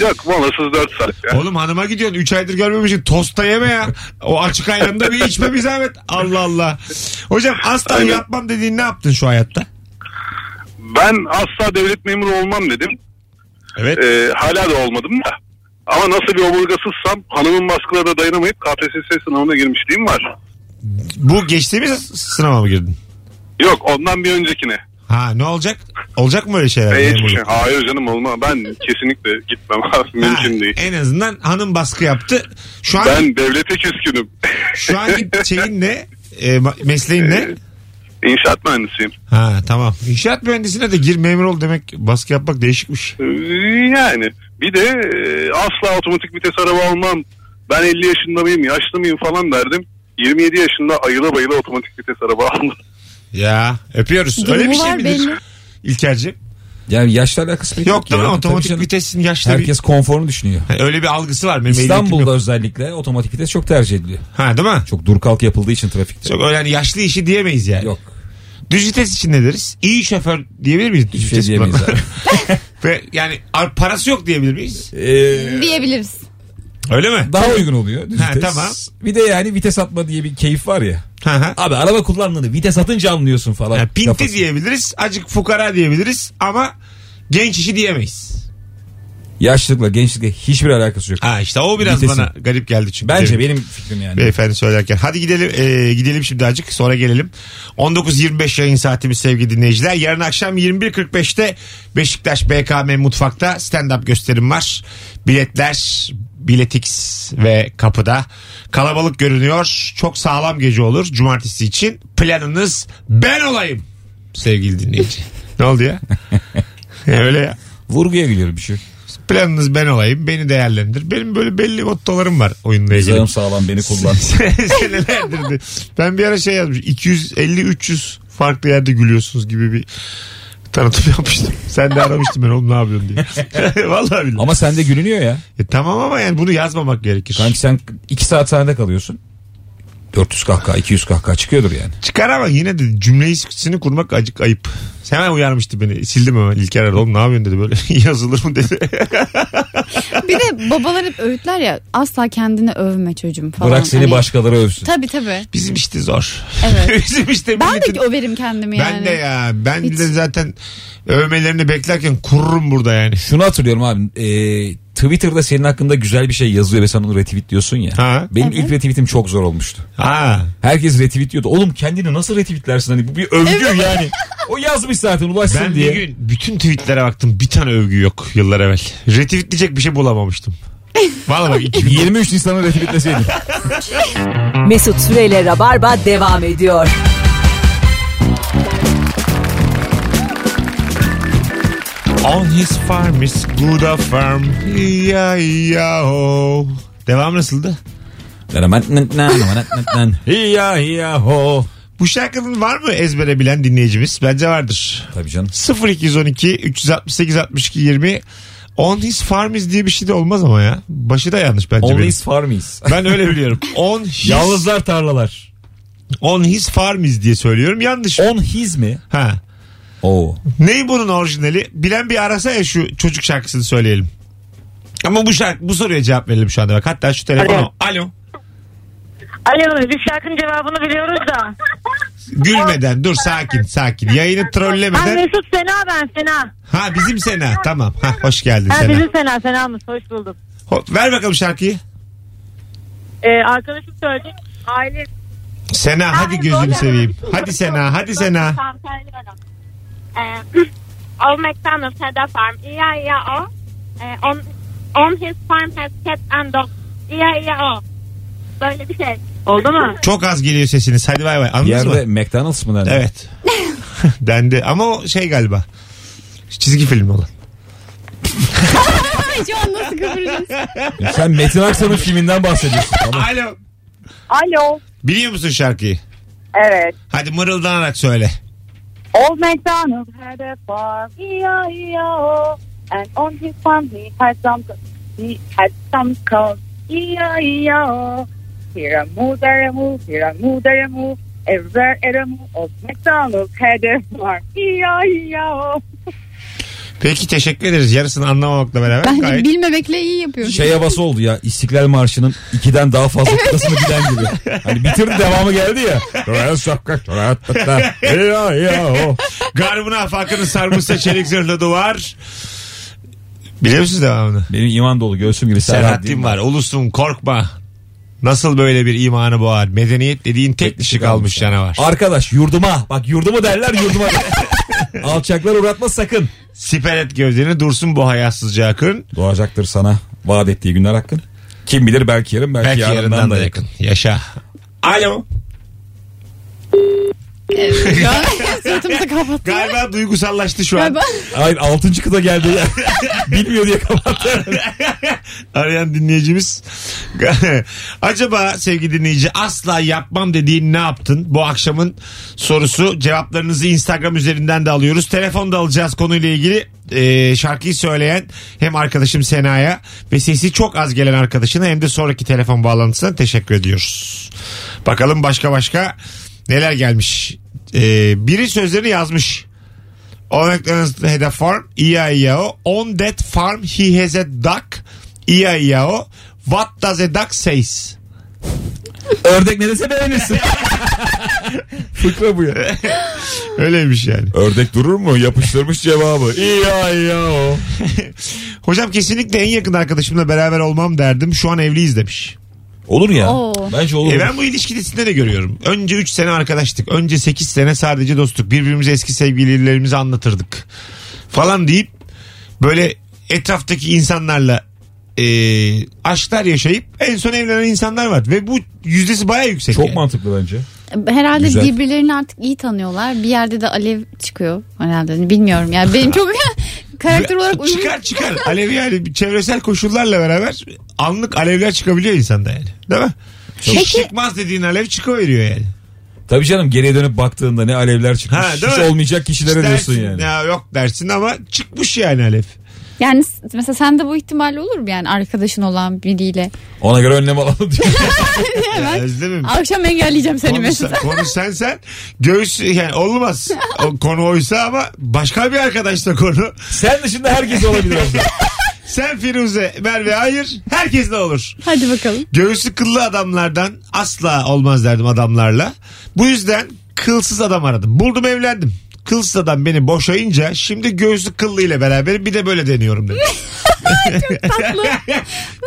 Speaker 5: Yok molasız 4 saat. ya.
Speaker 3: Oğlum hanıma gidiyorsun 3 aydır görmemişsin. Tosta yeme ya. O açık ayranda bir içme bir zahmet. Allah Allah. Hocam asla
Speaker 5: Aynen.
Speaker 3: yapmam dediğin ne yaptın şu hayatta?
Speaker 5: Ben asla devlet memuru olmam dedim.
Speaker 3: Evet.
Speaker 5: Ee, hala da olmadım da. Ama nasıl bir omurgasızsam hanımın baskılarına dayanamayıp KPSS sınavına girmişliğim var.
Speaker 3: Bu geçtiğimiz sınava mı girdin?
Speaker 5: Yok ondan bir öncekine.
Speaker 3: Ha ne olacak? Olacak mı öyle şeyler?
Speaker 5: E, hiçbir
Speaker 3: memurluk?
Speaker 5: şey. Hayır canım olma. Ben kesinlikle gitmem abi.
Speaker 3: Ha,
Speaker 5: Mümkün değil.
Speaker 3: En azından hanım baskı yaptı. Şu an
Speaker 5: Ben devlete küskünüm.
Speaker 3: şu anki şeyin ne? E, ma- mesleğin ne?
Speaker 5: İnşaat mühendisiyim.
Speaker 3: Ha tamam. İnşaat mühendisine de gir memur ol demek baskı yapmak değişikmiş.
Speaker 5: Ee, Yani bir de e, asla otomatik vites araba almam. Ben 50 yaşında mıyım, yaşlı mıyım falan derdim. 27 yaşında ayıla bayıla otomatik vites araba aldım.
Speaker 3: Ya öpüyoruz. Öyle
Speaker 4: Durumu
Speaker 3: bir şey
Speaker 4: var
Speaker 3: midir?
Speaker 4: belli.
Speaker 3: İlkerciğim.
Speaker 2: Yani yaşla alakası pek
Speaker 3: Yok değil mi?
Speaker 2: ya. Tabii
Speaker 3: Otomatik
Speaker 2: canım.
Speaker 3: vitesin yaşlı bir-
Speaker 2: Herkes konforunu düşünüyor.
Speaker 3: Öyle bir algısı var. Benim ehliyetim
Speaker 2: İstanbul'da
Speaker 3: yok.
Speaker 2: özellikle otomatik vites çok tercih ediliyor.
Speaker 3: Ha değil mi?
Speaker 2: Çok dur kalk yapıldığı için trafikte.
Speaker 3: Çok öyle yani yaşlı işi diyemeyiz yani.
Speaker 2: Yok.
Speaker 3: Düz vites için ne deriz? İyi şoför diyebilir miyiz? Düz
Speaker 2: Hiçbir şey
Speaker 3: vites
Speaker 2: diyemeyiz
Speaker 3: kullanan?
Speaker 2: abi.
Speaker 3: Ve yani ar- parası yok diyebilir miyiz?
Speaker 2: Ee,
Speaker 4: diyebiliriz.
Speaker 3: Öyle mi?
Speaker 2: daha uygun oluyor. Düz
Speaker 3: Ha,
Speaker 2: vites.
Speaker 3: tamam.
Speaker 2: Bir de yani vites atma diye bir keyif var ya.
Speaker 3: Hı hı.
Speaker 2: Abi araba kullandığını vites atınca anlıyorsun falan.
Speaker 3: Yani pinti
Speaker 2: Kafası.
Speaker 3: diyebiliriz. Acık fukara diyebiliriz. Ama genç işi diyemeyiz.
Speaker 2: Yaşlılıkla gençlikle hiçbir alakası yok.
Speaker 3: Ha işte o biraz
Speaker 2: Vitesin.
Speaker 3: bana garip geldi çünkü.
Speaker 2: Bence
Speaker 3: Demin
Speaker 2: benim fikrim yani.
Speaker 3: Beyefendi söylerken. Hadi gidelim e, gidelim şimdi acık sonra gelelim. 19.25 yayın saatimiz sevgili dinleyiciler. Yarın akşam 21.45'te Beşiktaş BKM Mutfak'ta stand-up gösterim var. Biletler Biletix ve kapıda. Kalabalık görünüyor. Çok sağlam gece olur cumartesi için. Planınız ben olayım sevgili dinleyici. ne oldu ya? E, Öyle ya.
Speaker 2: Vurguya gülüyorum bir şey.
Speaker 3: Planınız ben olayım. Beni değerlendir. Benim böyle belli mottolarım var oyunla ilgili.
Speaker 2: Sağım sağlam beni kullan.
Speaker 3: Senelerdir de. Ben bir ara şey yazmış. 250-300 farklı yerde gülüyorsunuz gibi bir tanıtım yapmıştım. Sen de aramıştın ben oğlum ne yapıyorsun diye. Vallahi billahi.
Speaker 2: Ama sende gülünüyor ya.
Speaker 3: E, tamam ama yani bunu yazmamak gerekir.
Speaker 2: Kanki sen 2 saat sahnede kalıyorsun. 400 kahkaha 200 kahkaha çıkıyordur yani.
Speaker 3: Çıkar ama yine de cümlesini kurmak acık ayıp. Hemen uyarmıştı beni. Sildim hemen. İlker aradı. Oğlum ne yapıyorsun dedi böyle. Yazılır mı dedi.
Speaker 4: Bir de babalar hep öğütler ya asla kendini övme çocuğum falan.
Speaker 2: Bırak seni
Speaker 4: Hani-
Speaker 2: başkaları övsün.
Speaker 4: Tabii tabii.
Speaker 3: Bizim işte zor.
Speaker 4: Evet.
Speaker 3: Bizim işte
Speaker 4: Ben
Speaker 3: milletin-
Speaker 4: de överim kendimi yani.
Speaker 3: Ben de ya. Ben
Speaker 4: Hiç.
Speaker 3: de zaten övmelerini beklerken kururum burada yani.
Speaker 2: Şunu hatırlıyorum abi. e, Twitter'da senin hakkında güzel bir şey yazıyor ve sen onu retweetliyorsun ya.
Speaker 3: Ha.
Speaker 2: Benim
Speaker 4: Evet.
Speaker 2: ilk retweetim çok zor olmuştu.
Speaker 3: Ha.
Speaker 2: Herkes retweetliyordu. Oğlum kendini nasıl retweetlersin? Hani bu bir övgü yani. O yazmış zaten ulaşsın
Speaker 3: Ben
Speaker 2: diye.
Speaker 3: bir gün bütün tweetlere baktım. Bir tane övgü yok yıllar evvel. Retweetleyecek bir şey bulamamıştım. Vallahi bak 2000
Speaker 2: 23 Nisan'ı retweetleseydim.
Speaker 1: Mesut Süreyle Rabarba devam ediyor.
Speaker 3: On his farm is good a farm. Ya ya ho. Devam nasıldı?
Speaker 2: Hiya hiya ho.
Speaker 3: Bu şarkının var mı ezbere bilen dinleyicimiz? Bence vardır.
Speaker 2: Tabii canım.
Speaker 3: 0212 368 62 20 On his farm is diye bir şey de olmaz ama ya. Başı da yanlış bence.
Speaker 2: Only
Speaker 3: benim.
Speaker 2: is farmies.
Speaker 3: Ben öyle biliyorum. On his,
Speaker 2: Yalnızlar tarlalar.
Speaker 3: on his farm is diye söylüyorum. Yanlış.
Speaker 2: On his mi?
Speaker 3: Ha.
Speaker 2: Oo.
Speaker 3: Ney bunun orijinali? Bilen bir arasa ya şu çocuk şarkısını söyleyelim. Ama bu şarkı bu soruya cevap verelim şu anda bak. Hatta şu telefonu. Alo.
Speaker 6: Alo. Alo biz şarkının cevabını biliyoruz da.
Speaker 3: Gülmeden dur sakin sakin. Yayını
Speaker 6: Ben
Speaker 3: trollemeden.
Speaker 6: Mesut Sena ben Sena.
Speaker 3: Ha bizim Sena. Tamam. Ha hoş geldin
Speaker 6: Ha,
Speaker 3: Sena.
Speaker 6: bizim Sena Sena'mız hoş bulduk.
Speaker 3: Ho- ver bakalım şarkıyı.
Speaker 8: Ee, arkadaşım söyledi. Aile
Speaker 3: Sena hadi gözünü seveyim. Hadi Sena hadi Sena.
Speaker 8: Tamam, söylüyorum. Ee, Old MacDonald's had a farm. E-I-E-O. Ee, on, on his farm has cats and dogs. E-I-E-O. oh. Böyle bir şey. Oldu mu?
Speaker 3: Çok az geliyor sesiniz. Hadi bay bay.
Speaker 2: Bir
Speaker 3: Anladınız
Speaker 2: yerde
Speaker 3: mı?
Speaker 2: McDonald's mı dendi?
Speaker 3: Evet. Dendi. Ama o şey galiba. Çizgi film olan.
Speaker 4: Ay şu an nasıl kıvıracağız?
Speaker 2: Sen Metin Aksan'ın filminden bahsediyorsun. Tamam.
Speaker 3: Alo.
Speaker 8: Alo.
Speaker 3: Biliyor musun şarkıyı?
Speaker 8: Evet.
Speaker 3: Hadi mırıldanarak söyle.
Speaker 8: Old MacDonald had a farm. E-I-E-O. And on his farm he had some, he had some cows. E-I-E-O. Here a moo, there a moo, here a moo, there a moo. Everywhere at a moo. Old MacDonald had a farm. E-I-E-O.
Speaker 3: Peki teşekkür ederiz. Yarısını anlamamakla beraber
Speaker 4: Bence
Speaker 3: gayet.
Speaker 4: bilmemekle iyi yapıyorsun.
Speaker 2: Şey havası oldu ya İstiklal Marşı'nın ikiden daha fazla kıtasını bilen gibi. Hani bitirdi devamı geldi ya. Ya, ya, o.
Speaker 3: Garbına afakını sarmışsa çelik zırhlı duvar. Biliyor musunuz devamını?
Speaker 2: Benim iman dolu göğsüm gibi
Speaker 3: Serhat'in var. Ulusun korkma. Nasıl böyle bir imanı boğar? Medeniyet dediğin tek dişi kalmış canavar.
Speaker 2: Arkadaş yurduma. Bak yurduma derler yurduma. Alçaklar uğratma sakın.
Speaker 3: Siper et gövdeni dursun bu hayasızca akın.
Speaker 2: Doğacaktır sana vaat ettiği günler hakkın. Kim bilir belki yarın belki,
Speaker 3: Belki
Speaker 2: yarından,
Speaker 3: yarından
Speaker 2: da
Speaker 3: da yakın. Yaşa. Alo.
Speaker 4: Suratımızı kapattı.
Speaker 3: Galiba duygusallaştı şu an.
Speaker 4: Galiba.
Speaker 2: Hayır 6. kıta geldi ya. Bilmiyor diye kapattı.
Speaker 3: Arayan dinleyicimiz. Acaba sevgili dinleyici asla yapmam dediğin ne yaptın? Bu akşamın sorusu. Cevaplarınızı Instagram üzerinden de alıyoruz. Telefon da alacağız konuyla ilgili. Ee, şarkıyı söyleyen hem arkadaşım Sena'ya ve sesi çok az gelen arkadaşına hem de sonraki telefon bağlantısına teşekkür ediyoruz. Bakalım başka başka neler gelmiş. Ee, biri sözlerini yazmış. On McDonald's had a farm. E-I-E-O. On that farm he has a duck. E E-I-E-O. What does a duck says?
Speaker 2: Ördek ne dese beğenirsin. Fıkra bu ya.
Speaker 3: Öyleymiş yani.
Speaker 2: Ördek durur mu? Yapıştırmış cevabı. İya iya o.
Speaker 3: Hocam kesinlikle en yakın arkadaşımla beraber olmam derdim. Şu an evliyiz demiş.
Speaker 2: Olur ya.
Speaker 4: Oo.
Speaker 2: Bence olur.
Speaker 3: E ben bu ilişkidesinde de görüyorum. Önce 3 sene arkadaştık. Önce 8 sene sadece dostluk. Birbirimize eski sevgililerimizi anlatırdık. Falan deyip böyle etraftaki insanlarla e, aşklar yaşayıp en son evlenen insanlar var. Ve bu yüzdesi baya yüksek.
Speaker 2: Çok
Speaker 3: yani.
Speaker 2: mantıklı bence.
Speaker 4: Herhalde
Speaker 2: Güzel.
Speaker 4: birbirlerini artık iyi tanıyorlar. Bir yerde de alev çıkıyor herhalde. Hani Bilmiyorum yani. Benim çok karakter olarak uyum.
Speaker 3: Çıkar çıkar. Alev yani bir çevresel koşullarla beraber anlık alevler çıkabiliyor insanda yani. Değil mi? Hiç
Speaker 4: Peki-
Speaker 3: çıkmaz dediğin alev çıkıveriyor yani.
Speaker 2: Tabii canım geriye dönüp baktığında ne alevler çıkmış.
Speaker 3: Ha, değil
Speaker 2: Hiç
Speaker 3: mi?
Speaker 2: olmayacak kişilere diyorsun
Speaker 3: Dersin,
Speaker 2: yani.
Speaker 3: Ya yok dersin ama çıkmış yani alev.
Speaker 4: Yani s- mesela sende bu ihtimal olur mu yani arkadaşın olan biriyle?
Speaker 2: Ona göre önlem alalım diyor.
Speaker 3: Ya Özlemim.
Speaker 4: Akşam engelleyeceğim seni
Speaker 3: Konu,
Speaker 4: Mesut.
Speaker 3: sen- konu sen sen. Göğüs yani olmaz. O, konu oysa ama başka bir arkadaşla konu.
Speaker 2: Sen dışında herkes olabilir aslında.
Speaker 3: Sen Firuze, Merve hayır. Herkesle olur.
Speaker 4: Hadi bakalım.
Speaker 3: Göğüslü kıllı adamlardan asla olmaz derdim adamlarla. Bu yüzden kılsız adam aradım. Buldum evlendim. Kılsız adam beni boşayınca şimdi göğüslü kıllı ile beraber bir de böyle deniyorum dedim. Çok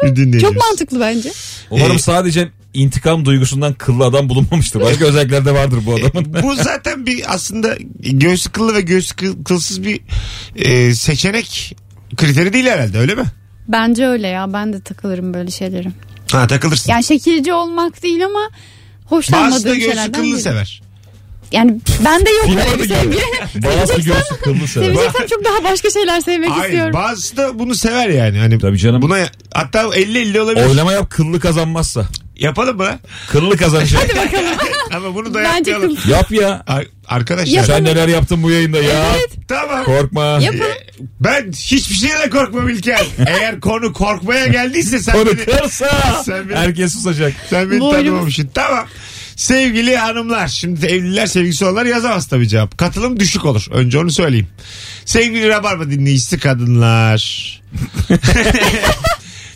Speaker 3: tatlı.
Speaker 4: Çok mantıklı bence.
Speaker 2: Umarım
Speaker 3: Ee,
Speaker 2: sadece intikam duygusundan kıllı adam bulunmamıştır. Başka özellikler de vardır bu adamın.
Speaker 3: Bu zaten bir aslında göğüslü kıllı ve göğüslü kıl- kılsız bir e, seçenek kriteri değil herhalde öyle mi?
Speaker 4: Bence öyle ya. Ben de takılırım böyle şeylere.
Speaker 3: Ha takılırsın.
Speaker 4: Yani şekilci olmak değil ama
Speaker 3: Bazısı da
Speaker 4: hoşlanmadığım
Speaker 3: göğüslü
Speaker 4: şeylerden
Speaker 3: kıllı
Speaker 4: biri.
Speaker 3: sever.
Speaker 4: Yani ben de yok öyle
Speaker 2: Filmde
Speaker 4: bir
Speaker 2: gibi.
Speaker 4: sevgi.
Speaker 2: Bazı göğsü kıllı sever.
Speaker 4: Seveceksem çok daha başka şeyler sevmek
Speaker 3: Hayır
Speaker 4: istiyorum.
Speaker 3: bazısı da bunu sever yani. Hani
Speaker 2: Tabii canım.
Speaker 3: Buna hatta 50-50 olabilir.
Speaker 2: Oylama yap kıllı kazanmazsa.
Speaker 3: Yapalım mı? lan?
Speaker 2: Kıllı kazanacak.
Speaker 3: Ama bunu
Speaker 4: Bence
Speaker 3: dayatmayalım.
Speaker 2: yap ya.
Speaker 3: Ar- arkadaşlar
Speaker 2: Sen neler yaptın bu yayında ya.
Speaker 3: tamam.
Speaker 2: Korkma.
Speaker 4: Yapalım.
Speaker 3: Ben hiçbir şeye de korkmam İlker. Eğer konu korkmaya geldiyse sen
Speaker 2: Onu
Speaker 3: beni,
Speaker 2: kırsa
Speaker 3: Sen beni-
Speaker 2: herkes susacak.
Speaker 3: sen beni
Speaker 4: Boynumuz-
Speaker 3: tanımamışsın. Tamam. Sevgili hanımlar. Şimdi evliler sevgisi olanlar yazamaz tabii cevap. Katılım düşük olur. Önce onu söyleyeyim. Sevgili Rabarba dinleyicisi kadınlar.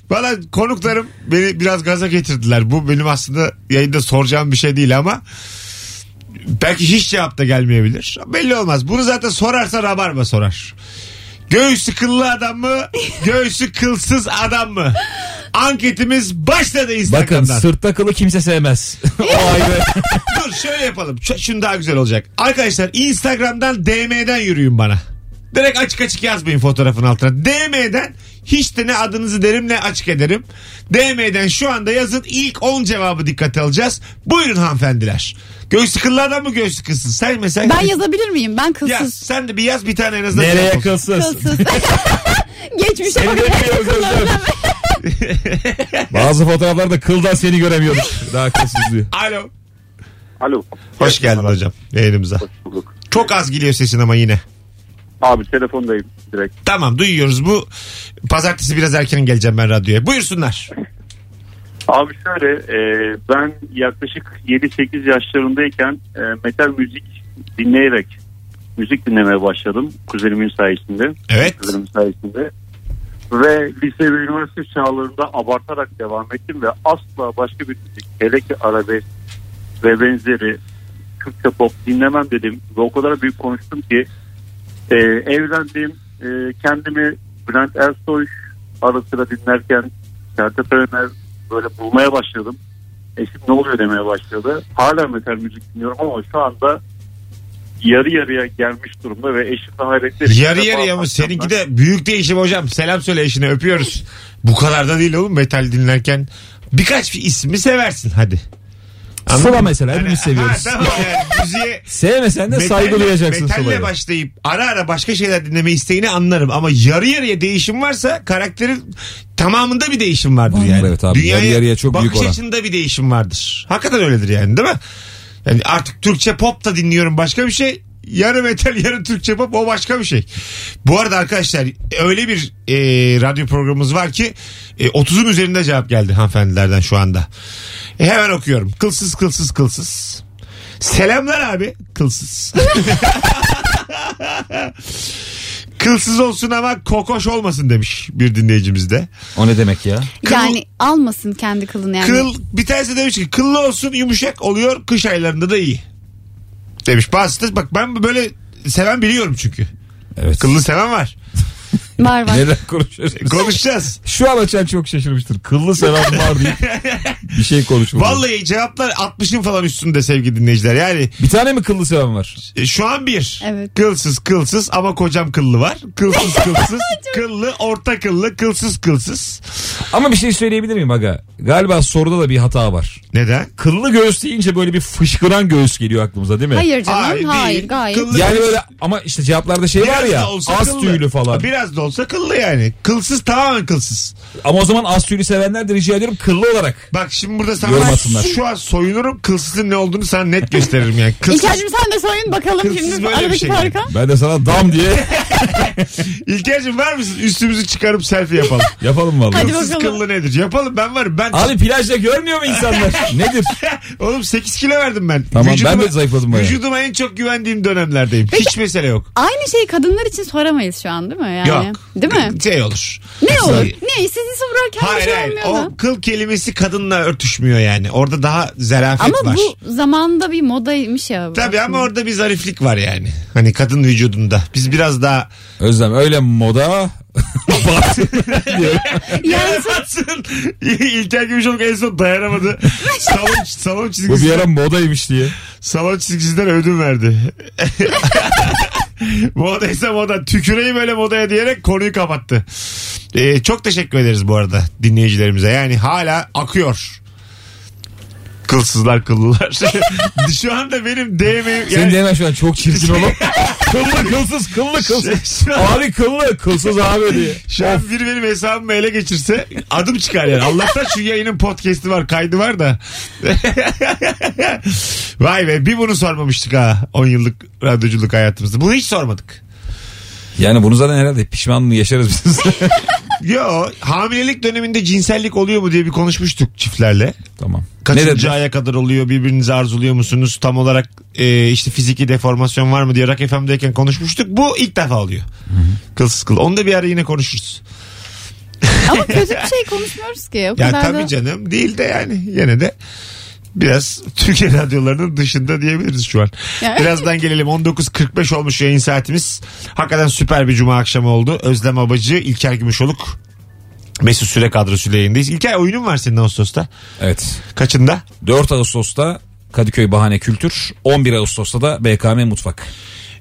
Speaker 3: Valla konuklarım beni biraz gaza getirdiler. Bu benim aslında yayında soracağım bir şey değil ama belki hiç cevap da gelmeyebilir. Belli olmaz. Bunu zaten sorarsa Rabarba sorar. Göğüsü kıllı adam mı? Göğsü kılsız adam mı? Anketimiz başladı Instagram'dan.
Speaker 2: Bakın sırtta kılı kimse sevmez. o ayrı.
Speaker 3: Dur şöyle yapalım. Ş- Şunu daha güzel olacak. Arkadaşlar Instagram'dan DM'den yürüyün bana. Direkt açık açık yazmayın fotoğrafın altına. DM'den hiç de ne adınızı derim ne açık ederim. DM'den şu anda yazın ilk 10 cevabı dikkate alacağız. Buyurun hanımefendiler. Göğsü kıllı adam mı göğsü kızsız? Sen mesela...
Speaker 4: Ben yazabilir miyim? Ben
Speaker 3: Yaz.
Speaker 4: kılsız.
Speaker 3: Sen de bir yaz bir tane en azından.
Speaker 2: Nereye
Speaker 3: cevap olsun.
Speaker 2: kılsız?
Speaker 4: Kılsız. Geçmişe
Speaker 2: Seni
Speaker 4: bak.
Speaker 2: göremiyoruz Özlem. Bazı fotoğraflarda kıldan seni göremiyoruz. Daha kılsız diyor.
Speaker 3: Alo.
Speaker 5: Alo.
Speaker 3: Hoş geldin hocam yayınımıza.
Speaker 5: Hoş bulduk.
Speaker 3: Çok az geliyor sesin ama yine.
Speaker 5: Abi telefondayım direkt.
Speaker 3: Tamam duyuyoruz bu. Pazartesi biraz erken geleceğim ben radyoya. Buyursunlar.
Speaker 5: Abi şöyle e, ben yaklaşık 7-8 yaşlarındayken e, metal müzik dinleyerek müzik dinlemeye başladım. Kuzenimin sayesinde.
Speaker 3: Evet.
Speaker 5: Kuzenimin sayesinde. Ve lise ve üniversite çağlarında abartarak devam ettim ve asla başka bir müzik hele ki arabesk ve benzeri Türkçe pop dinlemem dedim. Ve o kadar büyük konuştum ki e, evlendim. E, kendimi Bülent Ersoy ara sıra dinlerken Sertab Erener böyle bulmaya başladım. Eşim ne oluyor demeye başladı. Hala metal müzik dinliyorum ama şu anda yarı yarıya gelmiş durumda ve eşim de hayretler. içinde
Speaker 3: Yarı yarıya mı?
Speaker 5: bazı
Speaker 3: Seninki
Speaker 5: akşamlar-
Speaker 3: de büyük değişim hocam. Selam söyle eşine öpüyoruz. Bu kadar da değil oğlum metal dinlerken. Birkaç bir ismi seversin hadi. Anladın
Speaker 2: Sıla
Speaker 3: mı?
Speaker 2: mesela hepimiz seviyoruz.
Speaker 3: Ha, tamam yani müziğe
Speaker 2: Sevmesen de saygı duyacaksın
Speaker 3: metalle
Speaker 2: Sıla'ya.
Speaker 3: başlayıp ara ara başka şeyler dinleme isteğini anlarım. Ama yarı yarıya değişim varsa karakterin tamamında bir değişim vardır
Speaker 2: Var,
Speaker 3: yani.
Speaker 2: evet abi. Yarı yarıya çok büyük
Speaker 3: Bakış
Speaker 2: oran.
Speaker 3: açında bir değişim vardır. Hakikaten öyledir yani değil mi? Yani artık Türkçe pop da dinliyorum başka bir şey. Yarı metal yarı Türkçe pop o başka bir şey. Bu arada arkadaşlar öyle bir e, radyo programımız var ki e, 30'un üzerinde cevap geldi hanımefendilerden şu anda. E, hemen okuyorum. Kılsız kılsız kılsız. Selamlar abi. Kılsız. Kılsız olsun ama kokoş olmasın demiş bir dinleyicimiz de.
Speaker 2: O ne demek ya?
Speaker 3: Kıl-
Speaker 4: Yani almasın kendi kılını yani.
Speaker 3: Kıl bir tanesi demiş ki kıllı olsun yumuşak oluyor kış aylarında da iyi. Demiş bazısı da- bak ben böyle seven biliyorum çünkü.
Speaker 2: Evet.
Speaker 3: Kıllı seven var.
Speaker 4: Var var.
Speaker 2: Neden konuşuyoruz?
Speaker 3: Konuşacağız.
Speaker 2: Şu an açan çok şaşırmıştır. Kıllı seven var diye bir şey konuşmadı.
Speaker 3: Vallahi cevaplar 60'ın falan üstünde sevgili dinleyiciler. Yani
Speaker 2: Bir tane mi kıllı seven var?
Speaker 3: E, Şu an bir.
Speaker 4: Evet.
Speaker 3: Kılsız kılsız ama kocam kıllı var. Kılsız kılsız. kıllı orta kıllı kılsız kılsız.
Speaker 2: Ama bir şey söyleyebilir miyim aga? Galiba soruda da bir hata var.
Speaker 3: Neden?
Speaker 2: Kıllı göğüs deyince böyle bir fışkıran göğüs geliyor aklımıza değil mi?
Speaker 4: Hayır canım.
Speaker 3: Hayır,
Speaker 4: Hayır,
Speaker 3: değil.
Speaker 4: gayet.
Speaker 3: Kıllı-
Speaker 2: Yani böyle ama işte cevaplarda şey var ya
Speaker 3: da olsa
Speaker 2: az
Speaker 3: kıllı.
Speaker 2: tüylü falan.
Speaker 3: Biraz da olsa kıllı yani. Kılsız tamamen kılsız.
Speaker 2: Ama o zaman az tüylü sevenler de rica ediyorum kıllı olarak.
Speaker 3: Bak şimdi burada sana
Speaker 2: Yorum atsınlar.
Speaker 3: şu an soyunurum. Kılsızın ne olduğunu sana net gösteririm yani. Kılsız,
Speaker 4: İlker'cim sen de soyun bakalım
Speaker 3: Kılsız
Speaker 4: şimdi
Speaker 3: böyle bir
Speaker 4: aradaki
Speaker 3: şey
Speaker 4: farka.
Speaker 2: Ben de sana dam diye
Speaker 3: İlker'cim var mısın? Üstümüzü çıkarıp selfie yapalım.
Speaker 2: yapalım vallahi.
Speaker 4: Hadi
Speaker 3: Kılsız
Speaker 4: bakalım.
Speaker 3: kıllı nedir? Yapalım ben varım. Ben
Speaker 2: Abi plajda görmüyor mu insanlar? Nedir?
Speaker 3: Oğlum 8 kilo verdim ben.
Speaker 2: Tamam, ben de zayıfladım bayağı.
Speaker 3: Vücuduma en çok güvendiğim dönemlerdeyim. Hiç mesele yok.
Speaker 4: Aynı şeyi kadınlar için soramayız şu an değil mi? Yani?
Speaker 3: Yok.
Speaker 4: Değil mi?
Speaker 3: Şey olur.
Speaker 4: Ne olur? Ne? Sizi sorarken bir
Speaker 3: Hayır
Speaker 4: şey
Speaker 3: hayır.
Speaker 4: olmuyor da.
Speaker 3: O kıl kelimesi kadınla örtüşmüyor yani. Orada daha zarafet
Speaker 4: Ama
Speaker 3: var.
Speaker 4: bu zamanda bir modaymış ya. bu
Speaker 3: Tabii ama
Speaker 4: aslında.
Speaker 3: orada bir zariflik var yani. Hani kadın vücudunda. Biz biraz daha
Speaker 2: Özlem öyle moda batsın diyor.
Speaker 4: Yani
Speaker 3: Yansın. İlker Gümüşoluk en son dayanamadı. salon, salon
Speaker 2: Bu bir
Speaker 3: çizgisi,
Speaker 2: ara modaymış diye.
Speaker 3: salon çizgisinden ödün verdi. Modaysa moda. Tüküreyim öyle modaya diyerek konuyu kapattı. Ee, çok teşekkür ederiz bu arada dinleyicilerimize. Yani hala akıyor. Kılsızlar kıllılar. Şu anda benim DM'im...
Speaker 2: Senin
Speaker 3: yani-
Speaker 2: de hemen şu an çok çirkin oğlum. kıllı kılsız kıllı kılsız.
Speaker 3: Şu an-
Speaker 2: abi kıllı kılsız abi diye.
Speaker 3: Şu an biri benim hesabımı ele geçirse adım çıkar yani. Allah'tan şu yayının podcast'i var, kaydı var da. Vay be bir bunu sormamıştık ha 10 yıllık radyoculuk hayatımızda. Bunu hiç sormadık.
Speaker 2: Yani bunu zaten herhalde pişmanlığı yaşarız biz.
Speaker 3: Yo hamilelik döneminde cinsellik oluyor mu diye bir konuşmuştuk çiftlerle.
Speaker 2: tamam. ne
Speaker 3: Kaçıncı
Speaker 2: dedi?
Speaker 3: aya kadar oluyor birbirinizi arzuluyor musunuz? Tam olarak e, işte fiziki deformasyon var mı diye Rock FM'deyken konuşmuştuk. Bu ilk defa oluyor. Kılsız kıl. Onu da bir ara yine konuşuruz.
Speaker 4: ama kötü bir şey konuşmuyoruz ki. O
Speaker 3: Ya
Speaker 4: kadar
Speaker 3: tabii
Speaker 4: da...
Speaker 3: canım değil de yani yine de biraz Türkiye radyolarının dışında diyebiliriz şu an.
Speaker 4: Ya.
Speaker 3: Birazdan gelelim 19.45 olmuş yayın saatimiz. Hakikaten süper bir cuma akşamı oldu. Özlem Abacı, İlker Gümüşoluk Mesut Süre kadrosuyla yayındayız. İlker oyunun var senin Ağustos'ta.
Speaker 2: Evet.
Speaker 3: Kaçında?
Speaker 2: 4 Ağustos'ta Kadıköy Bahane Kültür, 11 Ağustos'ta da BKM Mutfak.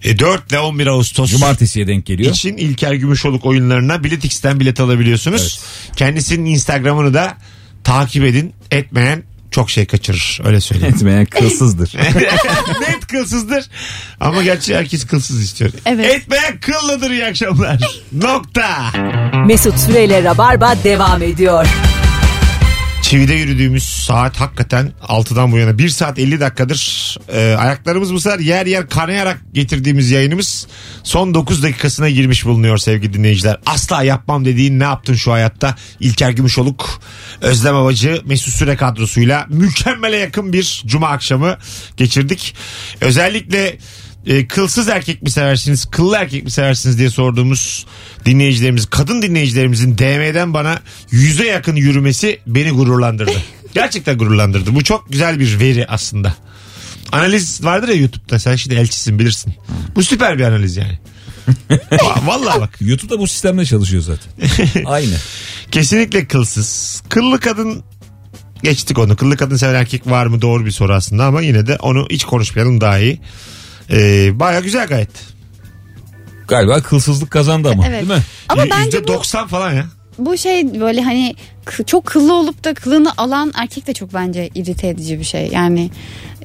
Speaker 3: E, 4 ile 11 Ağustos.
Speaker 2: Cumartesiye denk geliyor.
Speaker 3: için İlker Gümüşoluk oyunlarına biletix'ten bilet alabiliyorsunuz. Kendisinin Instagram'ını da takip edin. Etmeyen çok şey kaçırır. Öyle söyleyeyim.
Speaker 2: Etmeyen kılsızdır.
Speaker 3: Net kılsızdır. Ama gerçi herkes kılsız istiyor.
Speaker 4: Evet.
Speaker 3: Etmeyen kıllıdır iyi akşamlar. Nokta.
Speaker 1: Mesut Süreyle Rabarba devam ediyor.
Speaker 3: Çivide yürüdüğümüz saat hakikaten 6'dan bu yana 1 saat 50 dakikadır. Ee, ayaklarımız bu sefer yer yer kanayarak getirdiğimiz yayınımız son 9 dakikasına girmiş bulunuyor sevgili dinleyiciler. Asla yapmam dediğin ne yaptın şu hayatta? İlker Gümüşoluk, Özlem Avacı, Mesut Süre kadrosuyla mükemmele yakın bir cuma akşamı geçirdik. Özellikle e, kılsız erkek mi seversiniz, kıllı erkek mi seversiniz diye sorduğumuz dinleyicilerimiz, kadın dinleyicilerimizin DM'den bana yüze yakın yürümesi beni gururlandırdı. Gerçekten gururlandırdı. Bu çok güzel bir veri aslında. Analiz vardır ya YouTube'da. Sen şimdi elçisin bilirsin. Bu süper bir analiz yani. Va- Vallahi bak.
Speaker 2: YouTube'da bu sistemle çalışıyor zaten. Aynı.
Speaker 3: Kesinlikle kılsız. Kıllı kadın geçtik onu. Kıllı kadın seven erkek var mı doğru bir soru aslında ama yine de onu hiç konuşmayalım daha iyi. Ee, Baya güzel gayet.
Speaker 2: Galiba kılsızlık kazandı ama
Speaker 4: Evet.
Speaker 2: değil mi?
Speaker 4: Ama
Speaker 3: Yüzde
Speaker 4: bence bu,
Speaker 3: %90 falan ya.
Speaker 4: bu şey böyle hani k- çok kıllı olup da kılını alan erkek de çok bence irite edici bir şey. Yani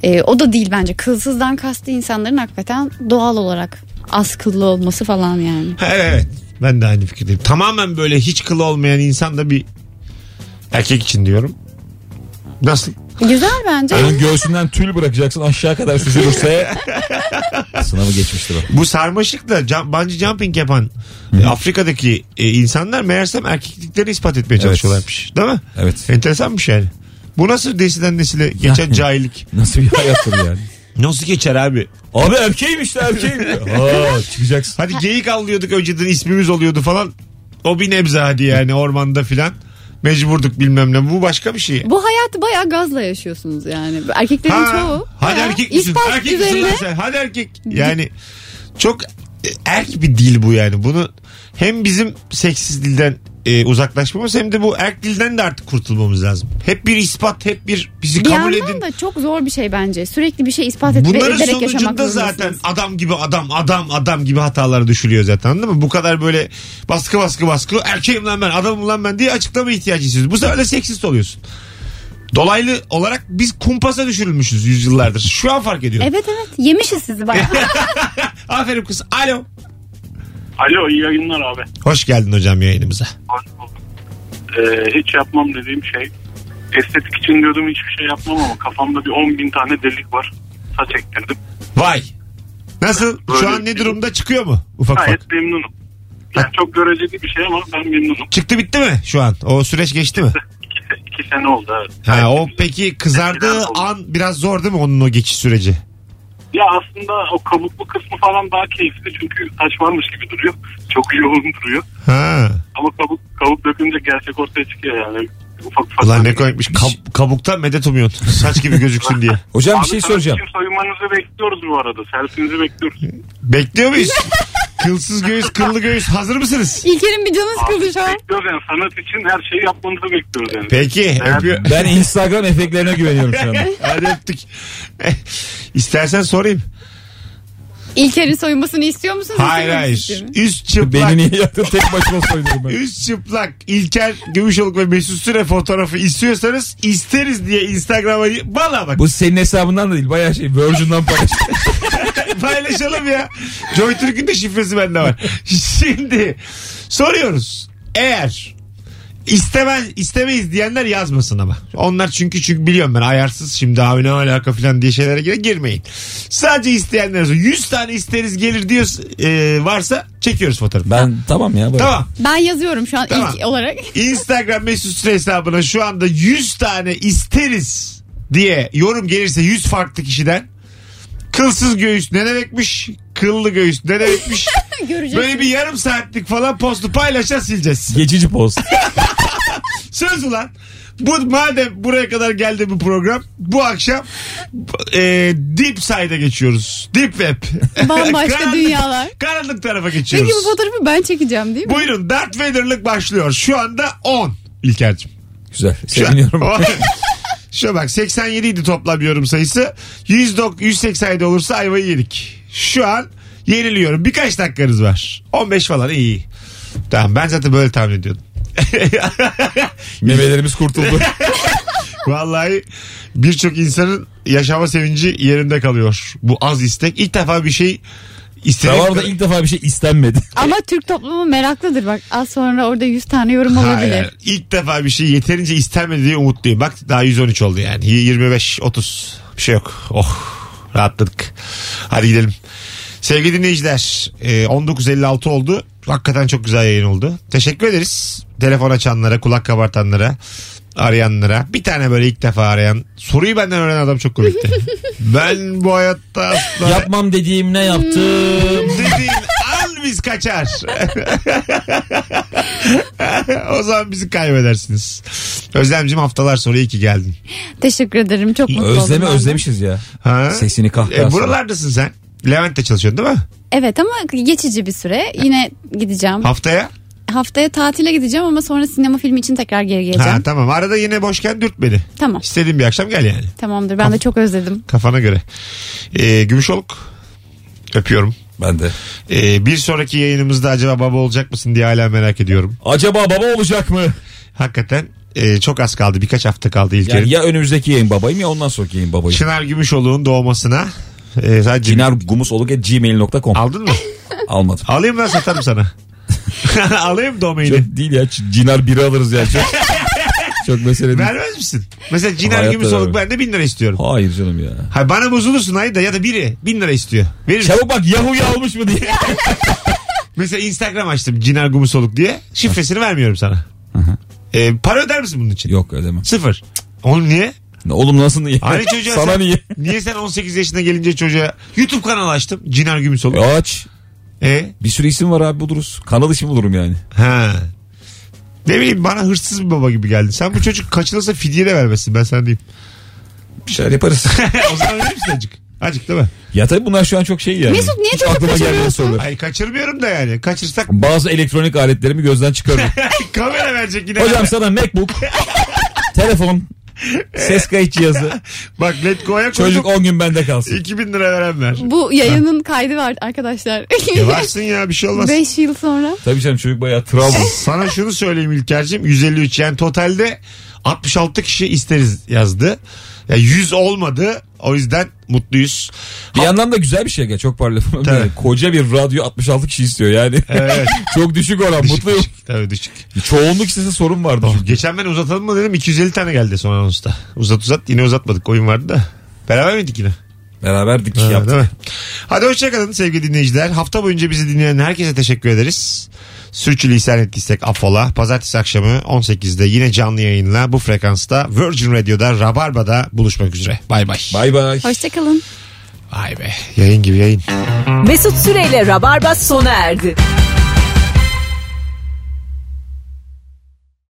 Speaker 4: e, o da değil bence. Kılsızdan kastı insanların hakikaten doğal olarak az kıllı olması falan yani.
Speaker 3: Ha, Evet. Ben de aynı fikirdeyim. Tamamen böyle hiç kılı olmayan insan da bir erkek için diyorum. Nasıl?
Speaker 4: Güzel bence.
Speaker 2: Onun göğsünden tül bırakacaksın aşağı kadar süzülürse sınavı geçmiştir o.
Speaker 3: Bu sarmaşıkla jump, bungee jumping yapan e, Afrika'daki e, insanlar meğersem erkekliklerini ispat etmeye çalışıyorlarmış. Değil mi?
Speaker 2: Evet.
Speaker 3: Enteresanmış yani. Bu nasıl nesilden nesile geçen cahillik?
Speaker 2: Nasıl bir hayattır yani?
Speaker 3: Nasıl geçer abi?
Speaker 2: Abi erkeğiymiş de erkeğim. Aa, çıkacaksın.
Speaker 3: Hadi geyik avlıyorduk önceden ismimiz oluyordu falan. O bir nebze hadi yani ormanda filan. Mecburduk bilmem ne. Bu başka bir şey.
Speaker 4: Bu hayatı bayağı gazla yaşıyorsunuz yani. Erkeklerin Ee, çoğu.
Speaker 3: Hadi
Speaker 4: bayağı
Speaker 3: erkek misin?
Speaker 4: ispat
Speaker 3: Erkek misin
Speaker 4: üzerine-
Speaker 3: lan sen? Hadi erkek. Yani çok e, erk bir dil bu yani. Bunu hem bizim seksiz dilden e, uzaklaşmamız hem de bu erk dilden de artık kurtulmamız lazım. Hep bir ispat, hep bir bizi
Speaker 4: Bir
Speaker 3: kabul
Speaker 4: yandan
Speaker 3: edin.
Speaker 4: da çok zor bir şey bence. Sürekli bir şey ispat et ve
Speaker 3: Bunların
Speaker 4: ederek yaşamak
Speaker 3: sonucunda zaten
Speaker 4: zorundasınız.
Speaker 3: adam gibi adam, adam, adam gibi hatalara düşülüyor zaten değil mi? Bu kadar böyle baskı baskı baskı erkeğim lan ben, adamım lan ben diye açıklama ihtiyacı hissediyorsun. Bu sefer de seksist oluyorsun. Dolaylı olarak biz kumpasa düşürülmüşüz yüzyıllardır. Şu an fark ediyorum.
Speaker 4: Evet evet yemişiz sizi bayağı.
Speaker 3: Aferin kız. Alo.
Speaker 5: Alo iyi yayınlar abi.
Speaker 3: Hoş geldin hocam yayınımıza.
Speaker 5: Hoş bulduk. Ee, hiç yapmam dediğim şey estetik için diyordum hiçbir şey yapmam ama kafamda bir 10 bin tane delik var. Saç ektirdim.
Speaker 3: Vay. Nasıl? Şu
Speaker 5: Böyle
Speaker 3: an ne
Speaker 5: bir-
Speaker 3: durumda? Çıkıyor mu? Ufak ufak.
Speaker 5: Gayet memnunum. Yani çok göreceli bir şey ama ben memnunum.
Speaker 3: Çıktı bitti mi şu an? O süreç geçti mi?
Speaker 5: İki, se- iki sene oldu evet.
Speaker 3: Ha, o
Speaker 5: Gayet
Speaker 3: peki kızardığı
Speaker 5: Biraz oldu.
Speaker 3: an biraz zor değil mi onun o geçiş süreci?
Speaker 5: Ya aslında o kabuklu kısmı falan daha keyifli çünkü saç varmış gibi duruyor. Çok yoğun duruyor.
Speaker 3: Ha.
Speaker 5: Ama kabuk kabuk dökünce gerçek ortaya çıkıyor yani. Ufak ufak.
Speaker 3: Ulan ne koymuş. Kab- kabuktan medet umuyorsun. Saç gibi gözüksün diye.
Speaker 2: Hocam
Speaker 5: Abi
Speaker 2: bir şey
Speaker 5: sana
Speaker 2: soracağım.
Speaker 5: bizim Soyunmanızı bekliyoruz bu arada. Selfinizi bekliyoruz.
Speaker 3: Bekliyor muyuz? Kılsız göğüs, kıllı göğüs. Hazır mısınız?
Speaker 4: İlker'in bir canı sıkıldı şu an.
Speaker 5: Bekliyoruz yani sanat için her şeyi yapmanızı bekliyoruz yani.
Speaker 3: Peki.
Speaker 5: Evet.
Speaker 3: Öpüyor.
Speaker 2: Ben Instagram efektlerine güveniyorum şu anda.
Speaker 3: Hadi öptük. İstersen sorayım.
Speaker 4: İlker'in soyunmasını istiyor musunuz?
Speaker 3: Hayır
Speaker 4: İstemediğiniz
Speaker 3: hayır.
Speaker 4: için mi?
Speaker 3: Üst çıplak.
Speaker 2: Beni niye yaptın tek başıma soydum ben.
Speaker 3: Üst çıplak İlker Gümüşoluk ve Mesut Süre fotoğrafı istiyorsanız isteriz diye Instagram'a valla bak
Speaker 2: Bu senin hesabından da değil bayağı şey Virgin'dan paylaştım.
Speaker 3: paylaşalım ya. Joy Türk'ün de şifresi bende var. Şimdi soruyoruz. Eğer istemez istemeyiz diyenler yazmasın ama. Onlar çünkü çünkü biliyorum ben ayarsız şimdi abi ne alaka falan diye şeylere gire girmeyin. Sadece isteyenler yazın. 100 tane isteriz gelir diyor e, varsa çekiyoruz fotoğrafı.
Speaker 2: Ben tamam ya. Böyle.
Speaker 3: Tamam.
Speaker 4: Ben yazıyorum şu an
Speaker 3: Tamam.
Speaker 4: ilk olarak.
Speaker 3: Instagram mesut süre hesabına şu anda 100 tane isteriz diye yorum gelirse 100 farklı kişiden kılsız göğüs ne demekmiş kıllı göğüs ne demekmiş
Speaker 4: Göreceksiniz.
Speaker 3: böyle bir yarım saatlik falan postu paylaşa sileceğiz
Speaker 2: Geçici post.
Speaker 3: söz ulan Bu madem buraya kadar geldi bu program bu akşam e, Deep Side'a geçiyoruz. Deep Web.
Speaker 4: Bambaşka
Speaker 3: Karanlık-
Speaker 4: dünyalar.
Speaker 3: Karanlık tarafa geçiyoruz.
Speaker 4: Peki bu fotoğrafı ben çekeceğim değil mi?
Speaker 3: Buyurun Darth Vader'lık başlıyor. Şu anda 10 İlker'cim.
Speaker 2: Güzel.
Speaker 3: Şu an- Oh.
Speaker 2: Seviniyorum.
Speaker 3: Şu bak 87 idi toplam yorum sayısı. 109 187 olursa ayvayı yedik. Şu an yeniliyorum. Birkaç dakikanız var. 15 falan iyi. Tamam ben zaten böyle tahmin ediyordum.
Speaker 2: Memelerimiz kurtuldu.
Speaker 3: Vallahi birçok insanın yaşama sevinci yerinde kalıyor. Bu az istek. İlk defa bir şey istedim.
Speaker 2: Rabarda ilk defa bir şey istenmedi.
Speaker 4: Ama Türk toplumu meraklıdır bak. Az sonra orada 100 tane yorum olabilir.
Speaker 3: Hayır. İlk defa bir şey yeterince istenmedi diye umutluyum. Bak daha 113 oldu yani. 25, 30 bir şey yok. Oh rahatladık. Hadi gidelim. Sevgili dinleyiciler e, 19.56 oldu. Hakikaten çok güzel yayın oldu. Teşekkür ederiz. Telefon açanlara, kulak kabartanlara, arayanlara. Bir tane böyle ilk defa arayan. Soruyu benden öğrenen adam çok komikti. ben bu hayatta asla...
Speaker 2: Yapmam dediğim ne yaptım?
Speaker 3: dediğin an biz kaçar. o zaman bizi kaybedersiniz. Özlemcim haftalar sonra iyi ki geldin.
Speaker 4: Teşekkür ederim. Çok mutlu oldum.
Speaker 2: Özlemi
Speaker 4: ben de.
Speaker 2: özlemişiz ya.
Speaker 3: Ha?
Speaker 2: Sesini kahkahasına.
Speaker 3: E, buralardasın sen. Levent'te çalışıyorsun değil mi?
Speaker 4: Evet ama geçici bir süre. Yine gideceğim.
Speaker 3: Haftaya.
Speaker 4: Haftaya tatile gideceğim ama sonra sinema filmi için tekrar geri geleceğim.
Speaker 3: Ha, tamam. Arada yine boşken dürt beni.
Speaker 4: Tamam.
Speaker 3: İstediğin bir akşam gel yani.
Speaker 4: Tamamdır. Ben de çok özledim.
Speaker 3: Kafana göre. E, Gümüşoluk. Öpüyorum.
Speaker 2: Ben de.
Speaker 3: E, bir sonraki yayınımızda acaba baba olacak mısın diye hala merak ediyorum.
Speaker 2: Acaba baba olacak mı?
Speaker 3: Hakikaten e, çok az kaldı. Birkaç hafta kaldı İlker'in.
Speaker 2: Yani ya önümüzdeki yayın babayım ya ondan sonraki yayın babayım.
Speaker 3: Çınar Gümüşoluk'un doğmasına. E, sadece
Speaker 2: Cinar Gumusoluk at gmail.com
Speaker 3: Aldın mı?
Speaker 2: almadım.
Speaker 3: Alayım ben satarım sana. Alayım
Speaker 2: Çok
Speaker 3: domaini.
Speaker 2: değil ya Ç- Cinar biri alırız ya çok. çok mesele değil.
Speaker 3: Vermez misin? Mesela Ciner
Speaker 2: Hayatta
Speaker 3: Gümüşoluk
Speaker 2: vermem.
Speaker 3: ben de bin lira istiyorum.
Speaker 2: Hayır canım ya.
Speaker 3: Hay bana bozulursun ayda ya da biri bin lira istiyor. Verir misin?
Speaker 2: Çabuk bak Yahoo'yu almış mı diye.
Speaker 3: Mesela Instagram açtım Ciner Gümüşoluk diye. Şifresini vermiyorum sana. Ee, para öder misin bunun için?
Speaker 2: Yok ödemem.
Speaker 3: Sıfır. Oğlum niye?
Speaker 2: Oğlum nasıl niye?
Speaker 3: Hani çocuğa
Speaker 2: Sana
Speaker 3: sen,
Speaker 2: niye?
Speaker 3: Niye sen 18 yaşına gelince çocuğa YouTube kanalı açtım. Ciner Gümüşoluk.
Speaker 2: Aç.
Speaker 3: E,
Speaker 2: Bir sürü isim var abi buluruz. Kanal ismi bulurum yani.
Speaker 3: ha. Ne bileyim bana hırsız bir baba gibi geldin. Sen bu çocuk kaçırılsa fidye de vermesin ben sana diyeyim.
Speaker 2: Bir şeyler yaparız.
Speaker 3: o zaman verir misin acık? Acık değil mi?
Speaker 2: ya tabii bunlar şu an çok şey yani.
Speaker 4: Mesut, niye
Speaker 2: Hiç
Speaker 4: çocuk
Speaker 2: aklıma gelmeyen
Speaker 4: kaçırıyorsun?
Speaker 2: sorular.
Speaker 3: Hayır kaçırmıyorum da yani. Kaçırsak
Speaker 2: Bazı elektronik aletlerimi gözden çıkarıyorum.
Speaker 3: kamera verecek yine.
Speaker 2: Hocam sana Macbook, telefon, ses kayıt cihazı.
Speaker 3: Bak let go'ya
Speaker 2: Çocuk
Speaker 3: koyduk.
Speaker 2: 10 gün bende kalsın.
Speaker 3: 2000 lira veren ver.
Speaker 4: Bu yayının kaydı var arkadaşlar.
Speaker 3: E varsın ya bir şey olmaz.
Speaker 4: 5 yıl sonra.
Speaker 2: Tabii canım çocuk bayağı travma.
Speaker 3: Sana şunu söyleyeyim İlker'cim 153 yani totalde 66 kişi isteriz yazdı. Ya 100 olmadı o yüzden mutluyuz.
Speaker 2: Bir yandan da güzel bir şey ya çok parla.
Speaker 3: Tabii.
Speaker 2: Koca bir radyo 66 kişi istiyor yani.
Speaker 3: Ee, Evet.
Speaker 2: çok düşük oran
Speaker 3: Düşük,
Speaker 2: mutluyum.
Speaker 3: düşük. Tabii düşük.
Speaker 2: Çoğunluk istese sorun vardı.
Speaker 3: Geçen ben uzatalım mı dedim 250 tane geldi son anonsta. Uzat uzat yine uzatmadık oyun vardı da. Beraber miydik yine?
Speaker 2: Beraber dikiş
Speaker 3: Ha,
Speaker 2: yaptık.
Speaker 3: değil mi? Hadi hoşçakalın sevgili dinleyiciler. Hafta boyunca bizi dinleyen herkese teşekkür ederiz. Sürçülisan ettiysek affola. Pazartesi akşamı 18'de yine canlı yayınla bu frekansta Virgin Radio'da Rabarba'da buluşmak üzere. Bay bay.
Speaker 2: Bay bay.
Speaker 4: Hoşçakalın.
Speaker 3: Vay be. Yayın gibi yayın.
Speaker 1: Mesut Süreyle Rabarba sona erdi.